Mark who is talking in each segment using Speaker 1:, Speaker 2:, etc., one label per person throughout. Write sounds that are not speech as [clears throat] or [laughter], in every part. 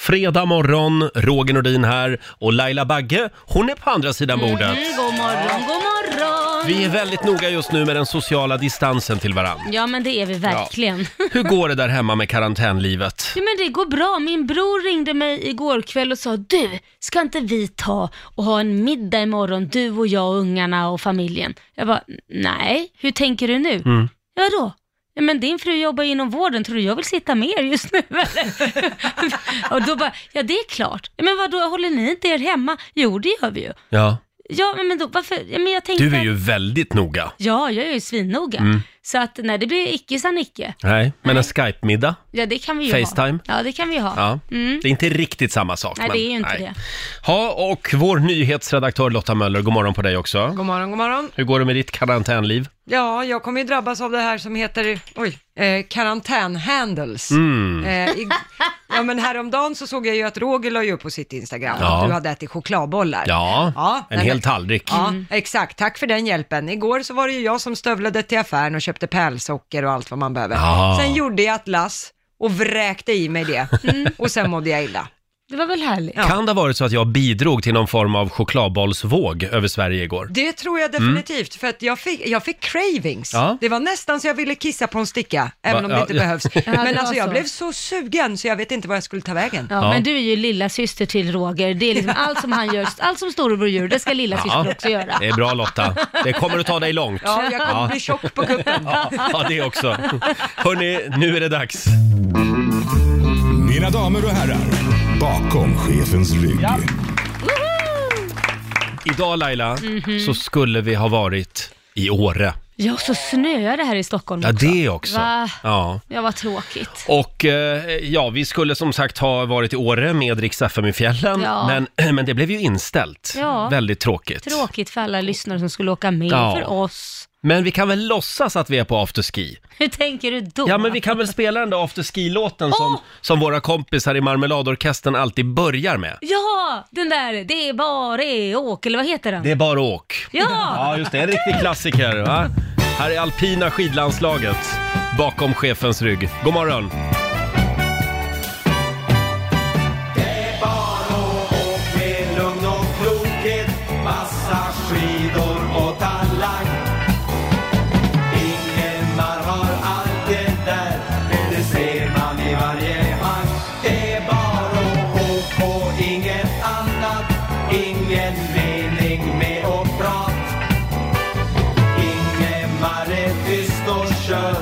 Speaker 1: Fredag morgon, Roger Nordin här och Laila Bagge, hon är på andra sidan bordet.
Speaker 2: Mm, god morgon, god morgon.
Speaker 1: Vi är väldigt noga just nu med den sociala distansen till varandra.
Speaker 2: Ja, men det är vi verkligen.
Speaker 1: Hur går det där hemma med karantänlivet?
Speaker 2: Ja, men det går bra. Min bror ringde mig igår kväll och sa du, ska inte vi ta och ha en middag imorgon, du och jag och ungarna och familjen? Jag bara, nej, hur tänker du nu?
Speaker 1: Mm.
Speaker 2: Vadå? Ja, men din fru jobbar ju inom vården, tror du jag vill sitta med er just nu eller? [laughs] och då bara, ja det är klart. Ja, men vadå, håller ni inte er hemma? Jo, det gör vi ju.
Speaker 1: Ja,
Speaker 2: Ja, men då, varför? Ja, men jag tänkte
Speaker 1: du är
Speaker 2: att-
Speaker 1: ju väldigt noga.
Speaker 2: Ja, jag är ju svinnoga.
Speaker 1: Mm.
Speaker 2: Så att nej, det blir icke sa Nicke.
Speaker 1: Nej, men en Skype-middag?
Speaker 2: Ja, det kan vi ju
Speaker 1: Facetime?
Speaker 2: ha. Ja, det kan vi ha.
Speaker 1: Ja.
Speaker 2: Mm.
Speaker 1: Det är inte riktigt samma sak.
Speaker 2: Nej,
Speaker 1: men-
Speaker 2: det är ju inte det.
Speaker 1: Ja, och vår nyhetsredaktör Lotta Möller, god morgon på dig också.
Speaker 3: God morgon, god morgon.
Speaker 1: Hur går det med ditt karantänliv?
Speaker 3: Ja, jag kommer ju drabbas av det här som heter, oj, eh, karantänhandles.
Speaker 1: Mm.
Speaker 3: Eh, i, ja, men häromdagen så såg jag ju att Roger la ju upp på sitt Instagram
Speaker 1: Ja.
Speaker 3: att du hade ätit chokladbollar.
Speaker 1: Ja,
Speaker 3: Ja,
Speaker 1: en
Speaker 3: nej,
Speaker 1: hel
Speaker 3: men-
Speaker 1: tallrik.
Speaker 3: Ja, exakt. Tack för den hjälpen. Igår så var det ju jag som stövlade till affären och köpte pärlsocker och allt vad man behöver.
Speaker 1: Ja.
Speaker 3: Sen gjorde jag ett lass och vräkte i mig det. Och sen mådde jag illa.
Speaker 2: Det var väl härligt?
Speaker 3: Ja.
Speaker 1: Kan det ha varit så att jag bidrog till någon form av chokladbollsvåg över Sverige igår?
Speaker 3: Det tror jag definitivt, för att jag fick, jag fick cravings.
Speaker 1: Mm. Ja,
Speaker 3: Det var nästan så jag ville kissa på en sticka, även om det
Speaker 1: ja,
Speaker 3: inte
Speaker 1: [laughs] ja.
Speaker 3: behövs.
Speaker 2: det
Speaker 3: Men
Speaker 2: var
Speaker 3: alltså
Speaker 2: så.
Speaker 3: jag blev så sugen så jag vet inte vad jag skulle ta vägen.
Speaker 2: Ja,
Speaker 1: Ja.
Speaker 2: men du är ju lilla syster till Roger. Det är liksom allt som han gör, allt som storebror gör, det ska lilla syster
Speaker 1: Ja.
Speaker 2: också göra.
Speaker 1: det är bra Lotta. Det kommer att ta dig långt.
Speaker 3: Ja, jag kommer
Speaker 1: Ja.
Speaker 3: bli tjock på kuppen.
Speaker 1: Ja, det också. Hörni, nu är det dags.
Speaker 4: Mina damer och herrar, bakom chefens rygg.
Speaker 1: Idag Laila,
Speaker 3: Mhm.
Speaker 1: så skulle vi ha varit i Åre.
Speaker 2: Ja, så snöar det här i Stockholm
Speaker 1: Ja,
Speaker 2: också.
Speaker 1: det också.
Speaker 2: Va?
Speaker 1: Ja.
Speaker 2: Ja, vad tråkigt.
Speaker 1: Och eh, ja, vi skulle som sagt ha varit i Åre med Rix FM i fjällen,
Speaker 2: Ja.
Speaker 1: men, [clears throat] men det blev ju inställt.
Speaker 2: Ja.
Speaker 1: Väldigt tråkigt.
Speaker 2: Tråkigt för alla lyssnare som skulle åka med,
Speaker 1: Ja.
Speaker 2: för oss.
Speaker 1: Men vi kan väl låtsas att vi är på afterski?
Speaker 2: Hur tänker du då?
Speaker 1: Ja, men vi kan väl spela den där afterski-låten som, som våra kompisar i Marmeladorkestern alltid börjar med.
Speaker 2: Ja, den där, det är bara är åk, eller vad heter den?
Speaker 1: Det är bara åk.
Speaker 2: Ja!
Speaker 1: Ja, just det. En riktig klassiker. Va? Här är alpina skidlandslaget bakom chefens rygg. God morgon!
Speaker 5: med lugn och klokhet Massa skidor och talang Ingemar har allt det där Det ser man i varje hand Det är bara att åka och inget annat Ingen mening med att prata Ingemar är tyst och kör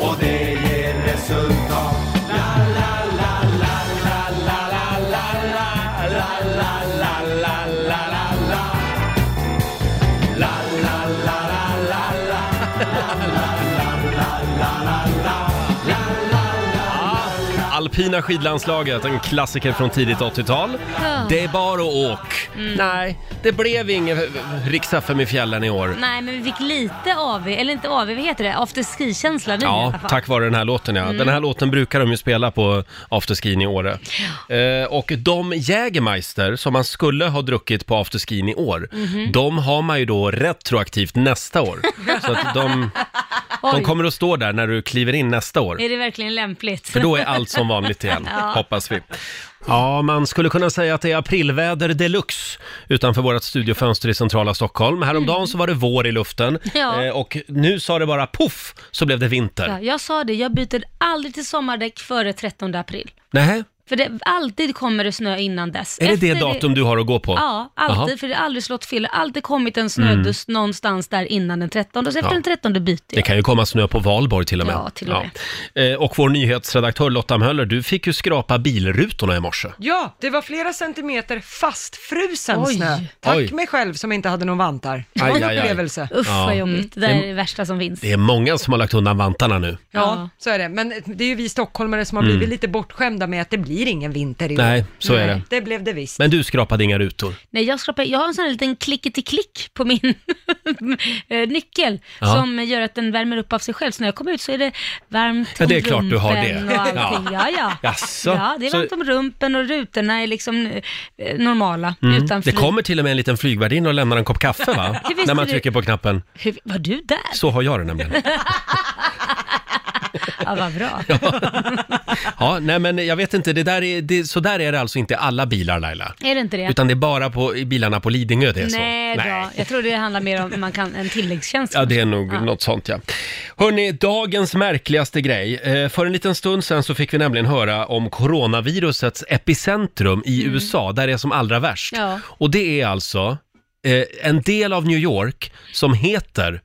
Speaker 5: Och det ger resultat La la la la la la la la la la la la la la la la La la la la la la
Speaker 1: Alpina skidlandslaget, en klassiker från tidigt 80-tal.
Speaker 2: Ja.
Speaker 1: Det är bara åk. Nej, det blev ingen riks i fjällen i år.
Speaker 2: Nej, men vi fick lite AV, eller inte AV, vad heter det? Afterski-känsla nu i
Speaker 1: Ja,
Speaker 2: alla fall. Mm.
Speaker 1: tack vare den här låten ja. Den här låten brukar de ju spela på afterskin i Åre. Eh, och de Jägermeister som man skulle ha druckit på afterskin i år,
Speaker 2: Mhm.
Speaker 1: de har man ju då retroaktivt nästa år. Så att de, de
Speaker 2: [laughs] Oj.
Speaker 1: kommer att stå där när du kliver in nästa år.
Speaker 2: Är det verkligen lämpligt?
Speaker 1: För då är allt som
Speaker 2: [laughs]
Speaker 1: vanligt igen, hoppas vi. Ja, man skulle kunna säga att det är aprilväder deluxe utanför vårt studiofönster i centrala Stockholm. Häromdagen så var det vår i luften
Speaker 2: Ja.
Speaker 1: eh, och nu sa det bara poff så blev det vinter.
Speaker 2: Ja, jag sa det, jag byter aldrig till sommardäck före 13 april.
Speaker 1: Nej,
Speaker 2: För det, alltid kommer det snö innan dess.
Speaker 1: är det
Speaker 2: Efter
Speaker 1: det datum du har att gå på?
Speaker 2: Ja, alltid,
Speaker 1: Jaha. Mm.
Speaker 2: för det har aldrig slått fel. Det har alltid kommit en snödust någonstans där innan den 13 och så efter
Speaker 1: Ja.
Speaker 2: den 13 byter
Speaker 1: Det
Speaker 2: jag.
Speaker 1: kan ju komma snö på valborg till och med.
Speaker 2: Ja, till och med.
Speaker 1: Ja. Eh, Och vår nyhetsredaktör Lotta Möller, du fick ju skrapa bilrutorna i morse.
Speaker 3: Ja, det var flera centimeter fastfrusen
Speaker 2: Oj.
Speaker 3: snö. Tack
Speaker 1: Oj.
Speaker 3: mig själv som inte hade någon vantar. Det
Speaker 1: Aj,
Speaker 3: var en
Speaker 1: aj,
Speaker 3: [laughs]
Speaker 1: aj.
Speaker 3: upplevelse.
Speaker 2: Uff
Speaker 1: Ja. Mm.
Speaker 2: vad jobbigt, det där
Speaker 1: Det-
Speaker 2: är det värsta som finns.
Speaker 1: Det är många som har lagt undan vantarna nu.
Speaker 2: Ja.
Speaker 3: Ja, så är det. Men det är ju vi stockholmare som har
Speaker 1: Mm.
Speaker 3: blivit lite bortskämda med att det blir ingen vinter i år.
Speaker 1: Nej, så är
Speaker 2: Nej.
Speaker 1: det.
Speaker 3: Det blev det visst.
Speaker 1: Men du skrapade inga rutor.
Speaker 2: Nej, jag, skrapar, jag har en sån här liten klickety-klick på min [laughs] eh, nyckel
Speaker 1: Ja.
Speaker 2: som gör att den värmer upp av sig själv. Så när jag kommer ut så är det varmt
Speaker 1: Ja, det är
Speaker 2: om
Speaker 1: klart du har det.
Speaker 2: rumpen och allting.
Speaker 1: Ja.
Speaker 2: Ja, ja.
Speaker 1: Jaså?
Speaker 2: ja det är
Speaker 1: Så-
Speaker 2: varmt om rumpen och rutorna är liksom eh, normala. Utan
Speaker 1: Mm. Det
Speaker 2: flyt.
Speaker 1: kommer till och med en liten flygvärdinna och lämnar en kopp kaffe va?
Speaker 2: [laughs] Det visste
Speaker 1: När man
Speaker 2: du.
Speaker 1: trycker på knappen.
Speaker 2: Hur, var du där? [laughs]
Speaker 1: Så har jag det nämligen. [laughs]
Speaker 2: Ja, vad bra.
Speaker 1: Ja, nej men jag vet inte, det där är, det, så där är det alltså inte i alla bilar Laila.
Speaker 2: Är det inte det?
Speaker 1: Utan det är bara på, i bilarna på Lidingö det är så.
Speaker 2: Nej, då. jag tror det handlar mer om man kan, en tilläggstjänst.
Speaker 1: Ja, det är nog något sånt ja. Hörni, dagens märkligaste grej. Eh, för en liten stund sedan så fick vi nämligen höra om coronavirusets epicentrum i USA, där det är som allra värst.
Speaker 2: Mm. Ja.
Speaker 1: Och det är alltså eh, en del av New York som heter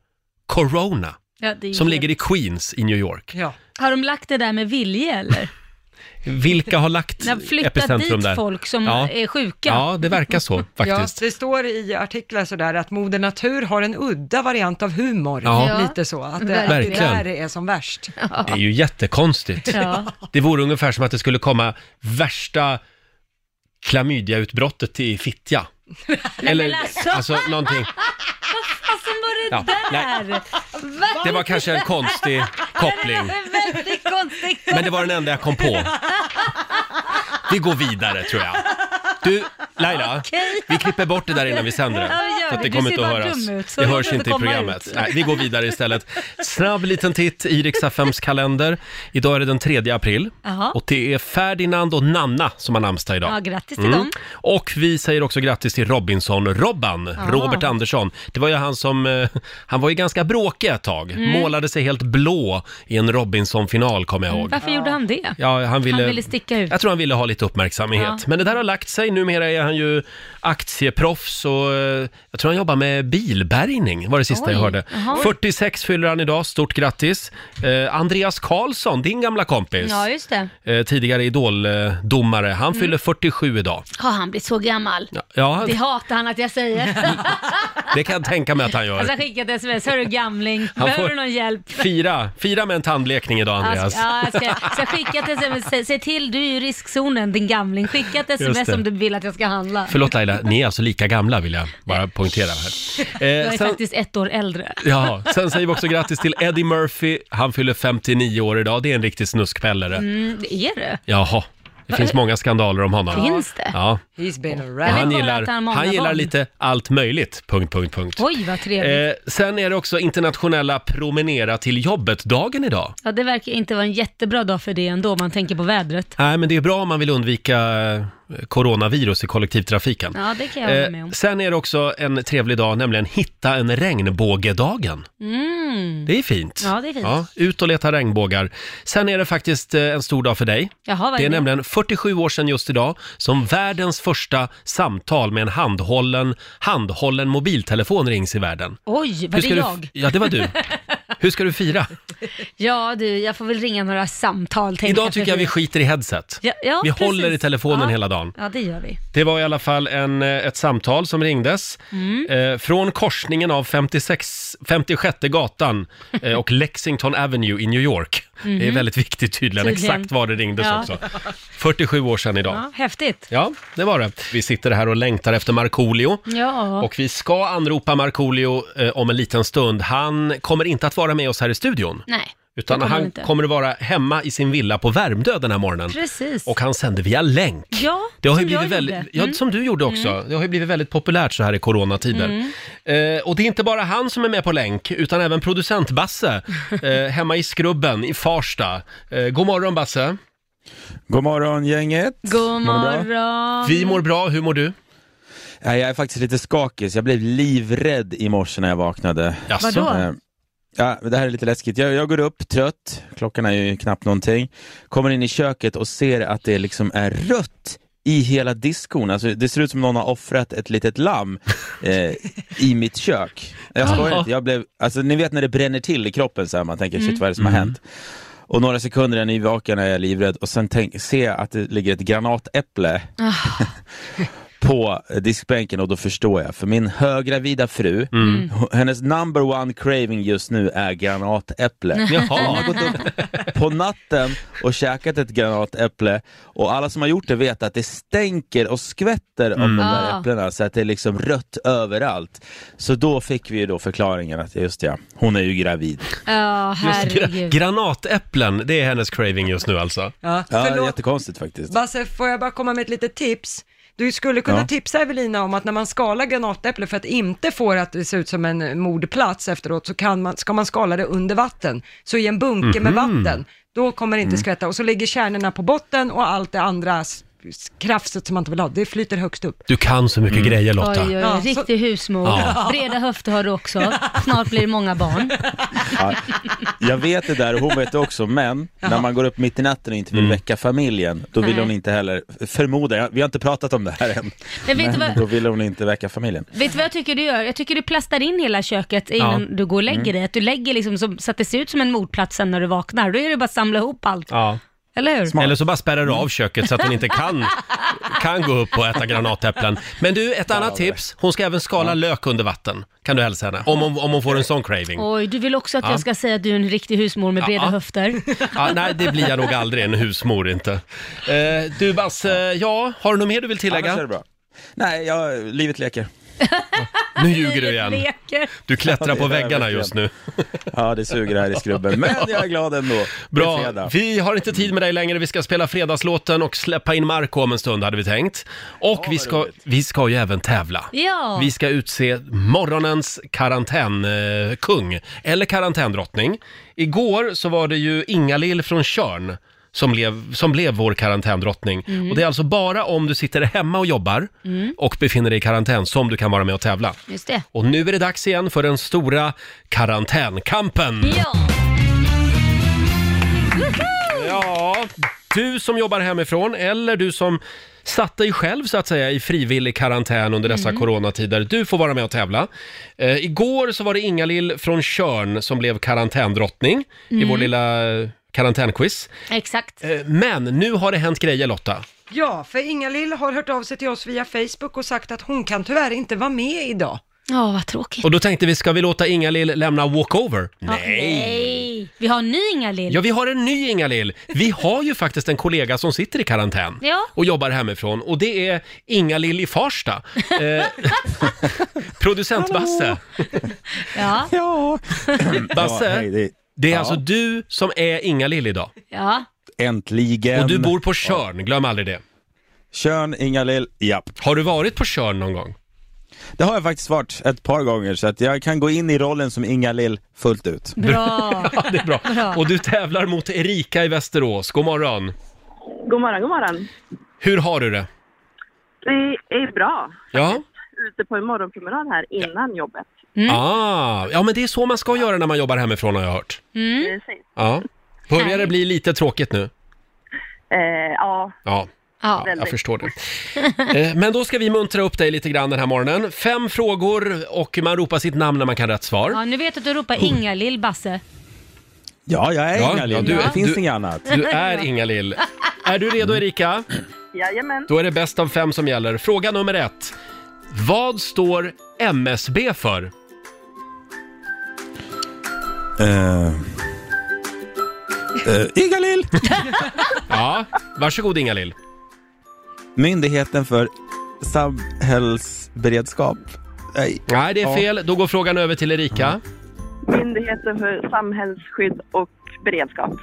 Speaker 1: Corona,
Speaker 2: Ja, det är ju
Speaker 1: som
Speaker 2: helt-
Speaker 1: ligger i Queens i New York.
Speaker 3: Ja.
Speaker 2: Har de lagt det där med vilje eller?
Speaker 1: Vilka har lagt
Speaker 2: De
Speaker 1: [laughs]
Speaker 2: har flyttat
Speaker 1: epicentrum
Speaker 2: dit
Speaker 1: där?
Speaker 2: folk som
Speaker 1: Ja.
Speaker 2: är sjuka.
Speaker 1: Ja, det
Speaker 2: [laughs]
Speaker 1: verkar så
Speaker 3: Ja,
Speaker 1: faktiskt.
Speaker 3: det står i artiklar sådär att Moder Natur har en udda variant av humor.
Speaker 1: Ja.
Speaker 3: Lite så, att det alltid
Speaker 2: Verkligen.
Speaker 3: där det är som värst.
Speaker 1: Det är
Speaker 2: [laughs]
Speaker 1: ju jättekonstigt.
Speaker 2: Ja.
Speaker 1: Det vore ungefär som att det skulle komma värsta klamydiautbrottet i Fittja. Eller,
Speaker 2: alltså.
Speaker 1: alltså någonting.
Speaker 2: Alltså var det
Speaker 1: Ja,
Speaker 2: där? Va?
Speaker 1: Det var kanske en konstig koppling.
Speaker 2: Det är väldigt konstigt.
Speaker 1: Men det var den enda jag kom på. Vi går vidare tror jag. Du, Laila,
Speaker 2: Okej.
Speaker 1: vi klipper bort det där innan vi sänder den.
Speaker 2: Ja, vi gör
Speaker 1: Så att
Speaker 2: det.
Speaker 1: det
Speaker 2: Du
Speaker 1: kommer
Speaker 2: ser
Speaker 1: inte att
Speaker 2: bara
Speaker 1: höras.
Speaker 2: dum ut, så
Speaker 1: Det
Speaker 2: det
Speaker 1: hörs
Speaker 2: får
Speaker 1: inte i
Speaker 2: inte komma
Speaker 1: programmet.
Speaker 2: ut.
Speaker 1: Nej, vi går vidare istället. Snabb liten titt i Riksaffems kalender. Idag är det den 3 april.
Speaker 2: Jaha.
Speaker 1: Och det är Ferdinand och Nanna som har namnsdag idag.
Speaker 2: Ja, grattis till dem.
Speaker 1: Mm. Och vi säger också grattis till Robinson-Robban,
Speaker 2: Ah.
Speaker 1: Robert Andersson. Det var ju han som, eh, han var ju ganska bråkig ett tag.
Speaker 2: Mm.
Speaker 1: Målade sig helt blå i en Robinson-final, kommer jag ihåg.
Speaker 2: Varför gjorde han det?
Speaker 1: Ja, han ville,
Speaker 2: Han ville sticka ut.
Speaker 1: Jag tror han ville ha lite uppmärksamhet.
Speaker 2: Ja.
Speaker 1: Men det där har lagt sig. Numera är han ju aktieproffs och eh, jag tror han jobbar med bilbärgning, var det sista
Speaker 2: Oj.
Speaker 1: jag hörde.
Speaker 2: Jaha.
Speaker 1: 46 fyller han idag, stort grattis. Eh, Andreas Karlsson, din gamla kompis.
Speaker 2: Ja, just Mm. det.
Speaker 1: Eh, tidigare idoldomare. Han fyller 47 idag.
Speaker 2: Har han blivit så gammal?
Speaker 1: Ja,
Speaker 2: Det hatar han att jag säger.
Speaker 1: det kan jag tänka mig att han
Speaker 2: Han
Speaker 1: gör.
Speaker 2: ska skicka ett sms. Hörru gamling, behöver
Speaker 1: får-
Speaker 2: du någon hjälp?
Speaker 1: Fira, fira med en tandblekning idag
Speaker 2: Jag
Speaker 1: Andreas.
Speaker 2: ska, Alltså, ja, jag ska, ska skicka ett sms. Säg- Säg till, du är ju i riskzonen din gamling. Skicka ett sms
Speaker 1: det.
Speaker 2: om du vill att jag ska handla.
Speaker 1: Förlåt Laila, ni är alltså lika gamla vill jag bara
Speaker 2: [laughs]
Speaker 1: poängtera här. Eh,
Speaker 2: Jag är
Speaker 1: sen-
Speaker 2: faktiskt ett år äldre.
Speaker 1: Ja, sen säger vi också grattis till Eddie Murphy. Han fyller 59 år idag. Det är en riktig snuskpellare.
Speaker 2: Mm, det är det.
Speaker 1: Jaha, det finns många skandaler om honom.
Speaker 2: Finns det?
Speaker 1: Ja,
Speaker 3: He's been around.
Speaker 1: och han
Speaker 2: bara
Speaker 1: gillar,
Speaker 2: att han har många
Speaker 1: han gillar
Speaker 2: barn.
Speaker 1: lite allt möjligt. Punkt, punkt, punkt.
Speaker 2: Oj, vad trevligt.
Speaker 1: Eh, sen är det också internationella promenera till jobbet-dagen idag.
Speaker 2: Ja, det verkar inte vara en jättebra dag för det ändå om man tänker på vädret.
Speaker 1: Nej, men det är bra om man vill undvika eh, coronavirus i kollektivtrafiken. Eh,
Speaker 2: Ja, det kan jag hålla med om.
Speaker 1: sen är det också en trevlig dag, nämligen hitta en regnbågedagen.
Speaker 2: Mm.
Speaker 1: Det är fint.
Speaker 2: Ja, det är fint.
Speaker 1: ut och leta regnbågar. Sen är det faktiskt eh, en stor dag för dig.
Speaker 2: Jaha, vad
Speaker 1: Det är
Speaker 2: är det?
Speaker 1: nämligen 47 år sedan just idag som världens första samtal med en handhållen, handhållen mobiltelefon rings i världen.
Speaker 2: Oj, var det
Speaker 1: ska
Speaker 2: jag?
Speaker 1: Du, ja, det
Speaker 2: [laughs]
Speaker 1: var du. Hur ska du fira?
Speaker 2: Ja, du, jag får väl ringa några samtal. tänkte
Speaker 1: Idag tycker jag vi skiter i headset.
Speaker 2: Ja, ja,
Speaker 1: vi
Speaker 2: precis.
Speaker 1: håller i telefonen
Speaker 2: Ja.
Speaker 1: hela dagen.
Speaker 2: Ja, det gör vi.
Speaker 1: Det var i alla fall en, eh, ett samtal som ringdes
Speaker 2: Mm.
Speaker 1: eh, från korsningen av 56, 56 gatan eh,
Speaker 2: [laughs]
Speaker 1: och Lexington Avenue i New York. Det är väldigt viktigt tydligen,
Speaker 2: Mhm. Tydligen.
Speaker 1: exakt var det ringdes
Speaker 2: Ja.
Speaker 1: också. 47 år sedan idag.
Speaker 2: Ja, häftigt.
Speaker 1: Ja, det var det. Vi sitter här och längtar efter Markoolio.
Speaker 2: Ja.
Speaker 1: Och vi ska anropa Markoolio eh, om en liten stund. Han kommer inte att vara med oss här i studion.
Speaker 2: Nej,
Speaker 1: Utan
Speaker 2: det kommer
Speaker 1: han
Speaker 2: inte.
Speaker 1: kommer att vara hemma i sin villa på Värmdö den här morgonen.
Speaker 2: Precis.
Speaker 1: Och han sänder via länk.
Speaker 2: Ja,
Speaker 1: Det har ju
Speaker 2: som
Speaker 1: blivit
Speaker 2: jag
Speaker 1: väldigt,
Speaker 2: gjorde. Mm.
Speaker 1: ja, som du gjorde också. Det har ju blivit väldigt populärt så här i coronatider.
Speaker 2: Mm.
Speaker 1: Eh, och det är inte bara han som är med på länk, utan även
Speaker 2: [laughs]
Speaker 1: producent Basse eh, hemma i Skrubben i Farsta. Eh, god morgon Basse!
Speaker 6: God morgon gänget!
Speaker 2: God
Speaker 6: Mår ni bra?
Speaker 2: morgon.
Speaker 1: Vi mår bra, hur mår du?
Speaker 6: Nej, Jag är faktiskt lite skakig, så jag blev livrädd i morse när jag vaknade.
Speaker 1: Jaså?
Speaker 2: Vadå?
Speaker 6: Eh, Ja, men det här är lite läskigt. Jag, jag går upp trött, klockan är ju knappt någonting, kommer in i köket och ser att det liksom är rött i hela diskon. Alltså, det ser ut som någon har offrat ett litet lamm eh, i mitt kök. Jag skojar inte, jag blev, alltså, ni vet när det bränner till i kroppen så här, man tänker shit vad är det som har hänt? Och några sekunder är jag nyvaken när jag är livrädd och sen tänk, ser jag att det ligger ett granatäpple [laughs] på diskbänken och då förstår jag, för min högravida fru, hennes number one craving just nu är granatäpple. Hon
Speaker 1: Jaha,
Speaker 6: har gått upp på natten och käkat ett granatäpple och alla som har gjort det vet att det stänker och skvätter av de
Speaker 2: Ah.
Speaker 6: där äpplena så att det är liksom rött överallt. Så då fick vi ju då förklaringen att just ja, hon är ju gravid.
Speaker 2: Ja,
Speaker 1: just
Speaker 2: [laughs]
Speaker 1: gra-
Speaker 2: herregud.
Speaker 1: granatäpplen, det är hennes craving just nu alltså.
Speaker 3: Ja,
Speaker 6: Ja, det är
Speaker 3: förlåt.
Speaker 6: jättekonstigt faktiskt.
Speaker 3: Basse, får jag bara komma med ett litet tips? Du skulle kunna
Speaker 6: Ja.
Speaker 3: tipsa Evelina om att när man skalar granatäpple för att inte få det att det ser ut som en mordplats efteråt så kan man, ska man skala det under vatten. Så i en bunke med vatten, Då kommer det inte skvätta. Och så ligger kärnorna på botten och allt det andra s- s- krafset som man inte vill ha, det flyter högst upp.
Speaker 1: Du kan så mycket grejer Lotta.
Speaker 2: Mm. Oj, oj,
Speaker 3: Ja,
Speaker 2: oj.
Speaker 3: så-
Speaker 2: Riktig husmor.
Speaker 1: Ja.
Speaker 2: Breda höfter har du också. Snart blir det många barn.
Speaker 6: Ja, jag vet det där och hon vet det också, men när man går upp mitt i natten och inte vill väcka familjen, då vill
Speaker 2: Nej.
Speaker 6: hon inte heller, förmodar jag, vi har inte pratat om det här än,
Speaker 2: [laughs] Men vet du
Speaker 6: men
Speaker 2: vad-
Speaker 6: då vill hon inte väcka familjen.
Speaker 2: Vet du vad jag tycker du gör? Jag tycker du plastar in hela köket innan
Speaker 1: Ja.
Speaker 2: du går och lägger
Speaker 6: Mm.
Speaker 2: dig. Att du lägger liksom så, så att det ser ut som en mordplats sen när du vaknar. Då är det bara att samla ihop allt.
Speaker 1: Ja.
Speaker 2: Eller hur?
Speaker 1: Eller så bara spärrar du av köket så att den inte kan, kan gå upp och äta granatäpplen. Men du, ett annat tips. Hon ska även skala lök under vatten. Kan du hälsa henne? Om hon, om hon får en sån craving.
Speaker 2: Oj, du vill också att
Speaker 1: Mm. Ja.
Speaker 2: jag ska säga att du är en riktig husmor med breda
Speaker 1: Ja. [laughs]
Speaker 2: höfter.
Speaker 1: Ja, nej, det blir jag nog aldrig. En husmor inte. Eh, du Basse, ja, har du något mer du vill
Speaker 6: Annars är det
Speaker 1: tillägga?
Speaker 6: bra. Nej, jag, livet leker.
Speaker 1: Nu ljuger du igen.
Speaker 2: Leker.
Speaker 1: Du klättrar på
Speaker 6: Ja, det är
Speaker 1: väggarna
Speaker 6: verkligen.
Speaker 1: just nu.
Speaker 6: Ja, det suger här i skrubben, men jag är glad ändå. Det är
Speaker 1: Bra,
Speaker 6: fredag.
Speaker 1: vi har inte tid med dig längre. Vi ska spela fredagslåten och släppa in Marco om en stund hade vi tänkt. Och vi, ska,
Speaker 6: roligt.
Speaker 1: vi ska ju även tävla.
Speaker 2: Ja.
Speaker 1: Vi ska utse morgonens karantänkung, eller karantändrottning. Igår så var det ju Ingalill från Körn som blev, som blev vår karantändrottning. Och det är alltså bara om du sitter hemma och jobbar och befinner dig i karantän som du kan vara med och tävla.
Speaker 2: Just det.
Speaker 1: Och nu är det dags igen för den stora karantänkampen.
Speaker 2: Ja.
Speaker 1: Ja, du som jobbar hemifrån eller du som satt dig själv så att säga i frivillig karantän under dessa coronatider. Du får vara med och tävla. Eh, igår så var det Ingalill från Körn som blev karantändrottning i vår lilla eh, karantänquiz.
Speaker 2: Exakt.
Speaker 1: Eh, men nu har det hänt grejer Lotta.
Speaker 3: Ja, för Inga-Lill har hört av sig till oss via Facebook och sagt att hon kan tyvärr inte vara med idag.
Speaker 2: Ja, vad tråkigt.
Speaker 1: Och då tänkte vi, ska vi låta Ingalill lämna walkover?
Speaker 2: Ja, nej. Vi har en ny Inga-Lill.
Speaker 1: Ja, vi har en ny Ingalill. Vi har ju faktiskt en kollega som sitter i karantän
Speaker 2: Ja.
Speaker 1: och jobbar hemifrån och det är Ingalill i Farsta. Eh, [laughs] producent Basse.
Speaker 2: Ja.
Speaker 6: Ja,
Speaker 1: [clears throat] Basse,
Speaker 6: ja hej, det
Speaker 1: det är
Speaker 6: Ja.
Speaker 1: alltså du som är Ingalill idag
Speaker 2: ja.
Speaker 6: äntligen.
Speaker 1: och du bor på Körn, glöm aldrig det.
Speaker 6: Körn, Inga-Lill, japp.
Speaker 1: Har du varit på Körn
Speaker 2: [laughs]
Speaker 1: någon gång?
Speaker 6: Det har jag faktiskt varit ett par gånger, så att jag kan gå in i rollen som Inga-Lill fullt ut.
Speaker 1: [laughs]
Speaker 2: Bra.
Speaker 1: Ja, det är bra.
Speaker 2: Bra.
Speaker 1: Och du tävlar mot Erika i Västerås. God morgon.
Speaker 7: God morgon, god morgon.
Speaker 1: Hur har du det?
Speaker 7: Det är bra.
Speaker 1: Ja,
Speaker 7: Ute på en morgonpromenad här innan jobbet.
Speaker 2: Mm.
Speaker 1: ah, ja men det är så man ska göra när man jobbar hemifrån har jag hört.
Speaker 7: Mm. Precis.
Speaker 1: Ja. Börjar det
Speaker 2: Härligt.
Speaker 1: bli lite tråkigt nu?
Speaker 7: Eh, ja,
Speaker 1: Ja,
Speaker 2: Ja.
Speaker 1: jag
Speaker 7: Väldigt.
Speaker 1: förstår det. Eh, Men då ska vi muntra upp dig lite grann den här morgonen. Fem frågor och man ropar sitt namn när man kan rätt svar.
Speaker 2: ja, nu vet jag att du ropar Inga-Lill, Basse.
Speaker 6: Ja, jag är
Speaker 1: Ja, ja,
Speaker 6: Inga-Lill,
Speaker 1: du-
Speaker 6: det finns
Speaker 1: du-
Speaker 6: inget annat.
Speaker 1: Du är Inga-Lill. Är du redo Erika?
Speaker 7: jajamän.
Speaker 1: Då är det bäst av fem som gäller. Fråga nummer ett. Vad står MSB för?
Speaker 6: Eh, eh,
Speaker 1: [laughs]
Speaker 6: Inga-Lill!
Speaker 1: Ja, varsågod Inga-Lill.
Speaker 6: Myndigheten för samhällsberedskap. Nej.
Speaker 1: Nej, det är
Speaker 6: Ja.
Speaker 1: fel. Då går frågan över till Erika.
Speaker 7: Myndigheten för samhällsskydd och beredskap.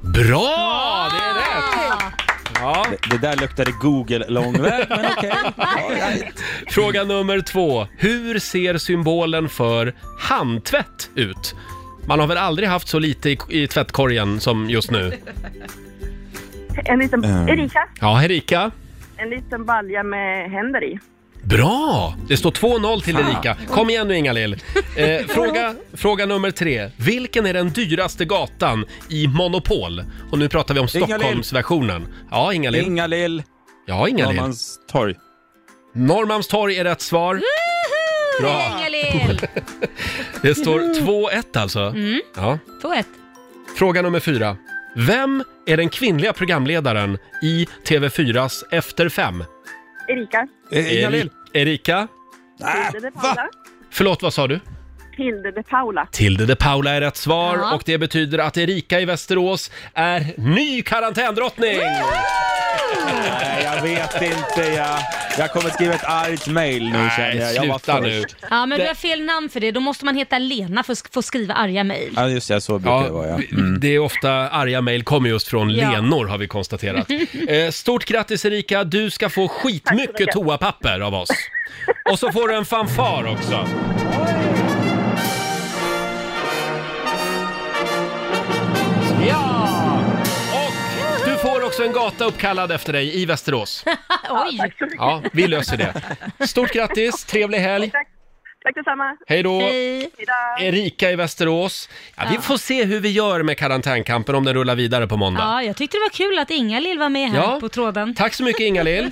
Speaker 1: Bra! Det är rätt! Ja.
Speaker 6: Det, det där luktade Google långväg, men
Speaker 1: [laughs]
Speaker 6: okej. All right.
Speaker 1: Fråga nummer två. Hur ser symbolen för handtvätt ut? Man har väl aldrig haft så lite i, i tvättkorgen som just nu?
Speaker 7: En liten...
Speaker 6: Eh.
Speaker 7: Erika,
Speaker 1: Ja, Erika.
Speaker 7: en liten balja med händer i.
Speaker 1: Bra! Det står 2-0 till Erika. Kom igen nu Ingalill. Eh, fråga, fråga nummer tre. Vilken är den dyraste gatan i Monopol? Och nu pratar vi om
Speaker 6: Ingalill.
Speaker 1: Stockholmsversionen. Ja, Ingalill.
Speaker 6: Inga-Lill,
Speaker 1: Ja, Ingalill.
Speaker 6: Norrmalmstorg.
Speaker 1: Norrmalmstorg är rätt svar. Bra.
Speaker 2: Inga-Lill.
Speaker 1: Det står 2-1 alltså. Ja.
Speaker 2: 2-1.
Speaker 1: Fråga nummer fyra. Vem är den kvinnliga programledaren i TV4s Efter fem?
Speaker 7: Erika,
Speaker 6: Eh, Inga-Lill.
Speaker 1: Eri- Erika?
Speaker 6: Ah,
Speaker 7: Hilde de
Speaker 6: va?
Speaker 7: Paula.
Speaker 1: Förlåt, vad sa du?
Speaker 7: Hilde de Paula.
Speaker 1: Tilde de Paula är rätt svar
Speaker 2: Ja.
Speaker 1: och det betyder att Erika i Västerås är ny karantändrottning!
Speaker 6: Nej, jag vet inte. Jag, jag kommer skriva ett argt mail nu känner jag.
Speaker 1: Nej,
Speaker 6: jag var
Speaker 1: sluta nu.
Speaker 6: först.
Speaker 2: Ja, men du har fel namn för det. Då måste man heta Lena för att få skriva arga mejl.
Speaker 6: Ja, just det. Så brukar det vara,
Speaker 1: Ja,
Speaker 6: ja. Mm.
Speaker 1: vi- Det är ofta arga mejl kommer just från
Speaker 2: Ja.
Speaker 1: Lenor har vi konstaterat. Eh, Stort grattis Erika, du ska få skitmycket
Speaker 7: mycket.
Speaker 1: toapapper av oss. Och så får du en fanfar också. Ja! också en gata uppkallad efter dig i Västerås.
Speaker 2: Oj!
Speaker 1: Ja, vi löser det. Stort grattis, trevlig helg.
Speaker 7: Tack. Tack detsamma.
Speaker 1: Hej då!
Speaker 2: Hej.
Speaker 7: Hejdå.
Speaker 1: Erika i Västerås. Ja, vi får se hur vi gör med karantänkampen om den rullar vidare på måndag.
Speaker 2: Ja, jag tyckte det var kul att Inga-Lill var med här
Speaker 1: Ja.
Speaker 2: på tråden.
Speaker 1: Tack så
Speaker 2: [laughs]
Speaker 1: mycket Inga-Lill.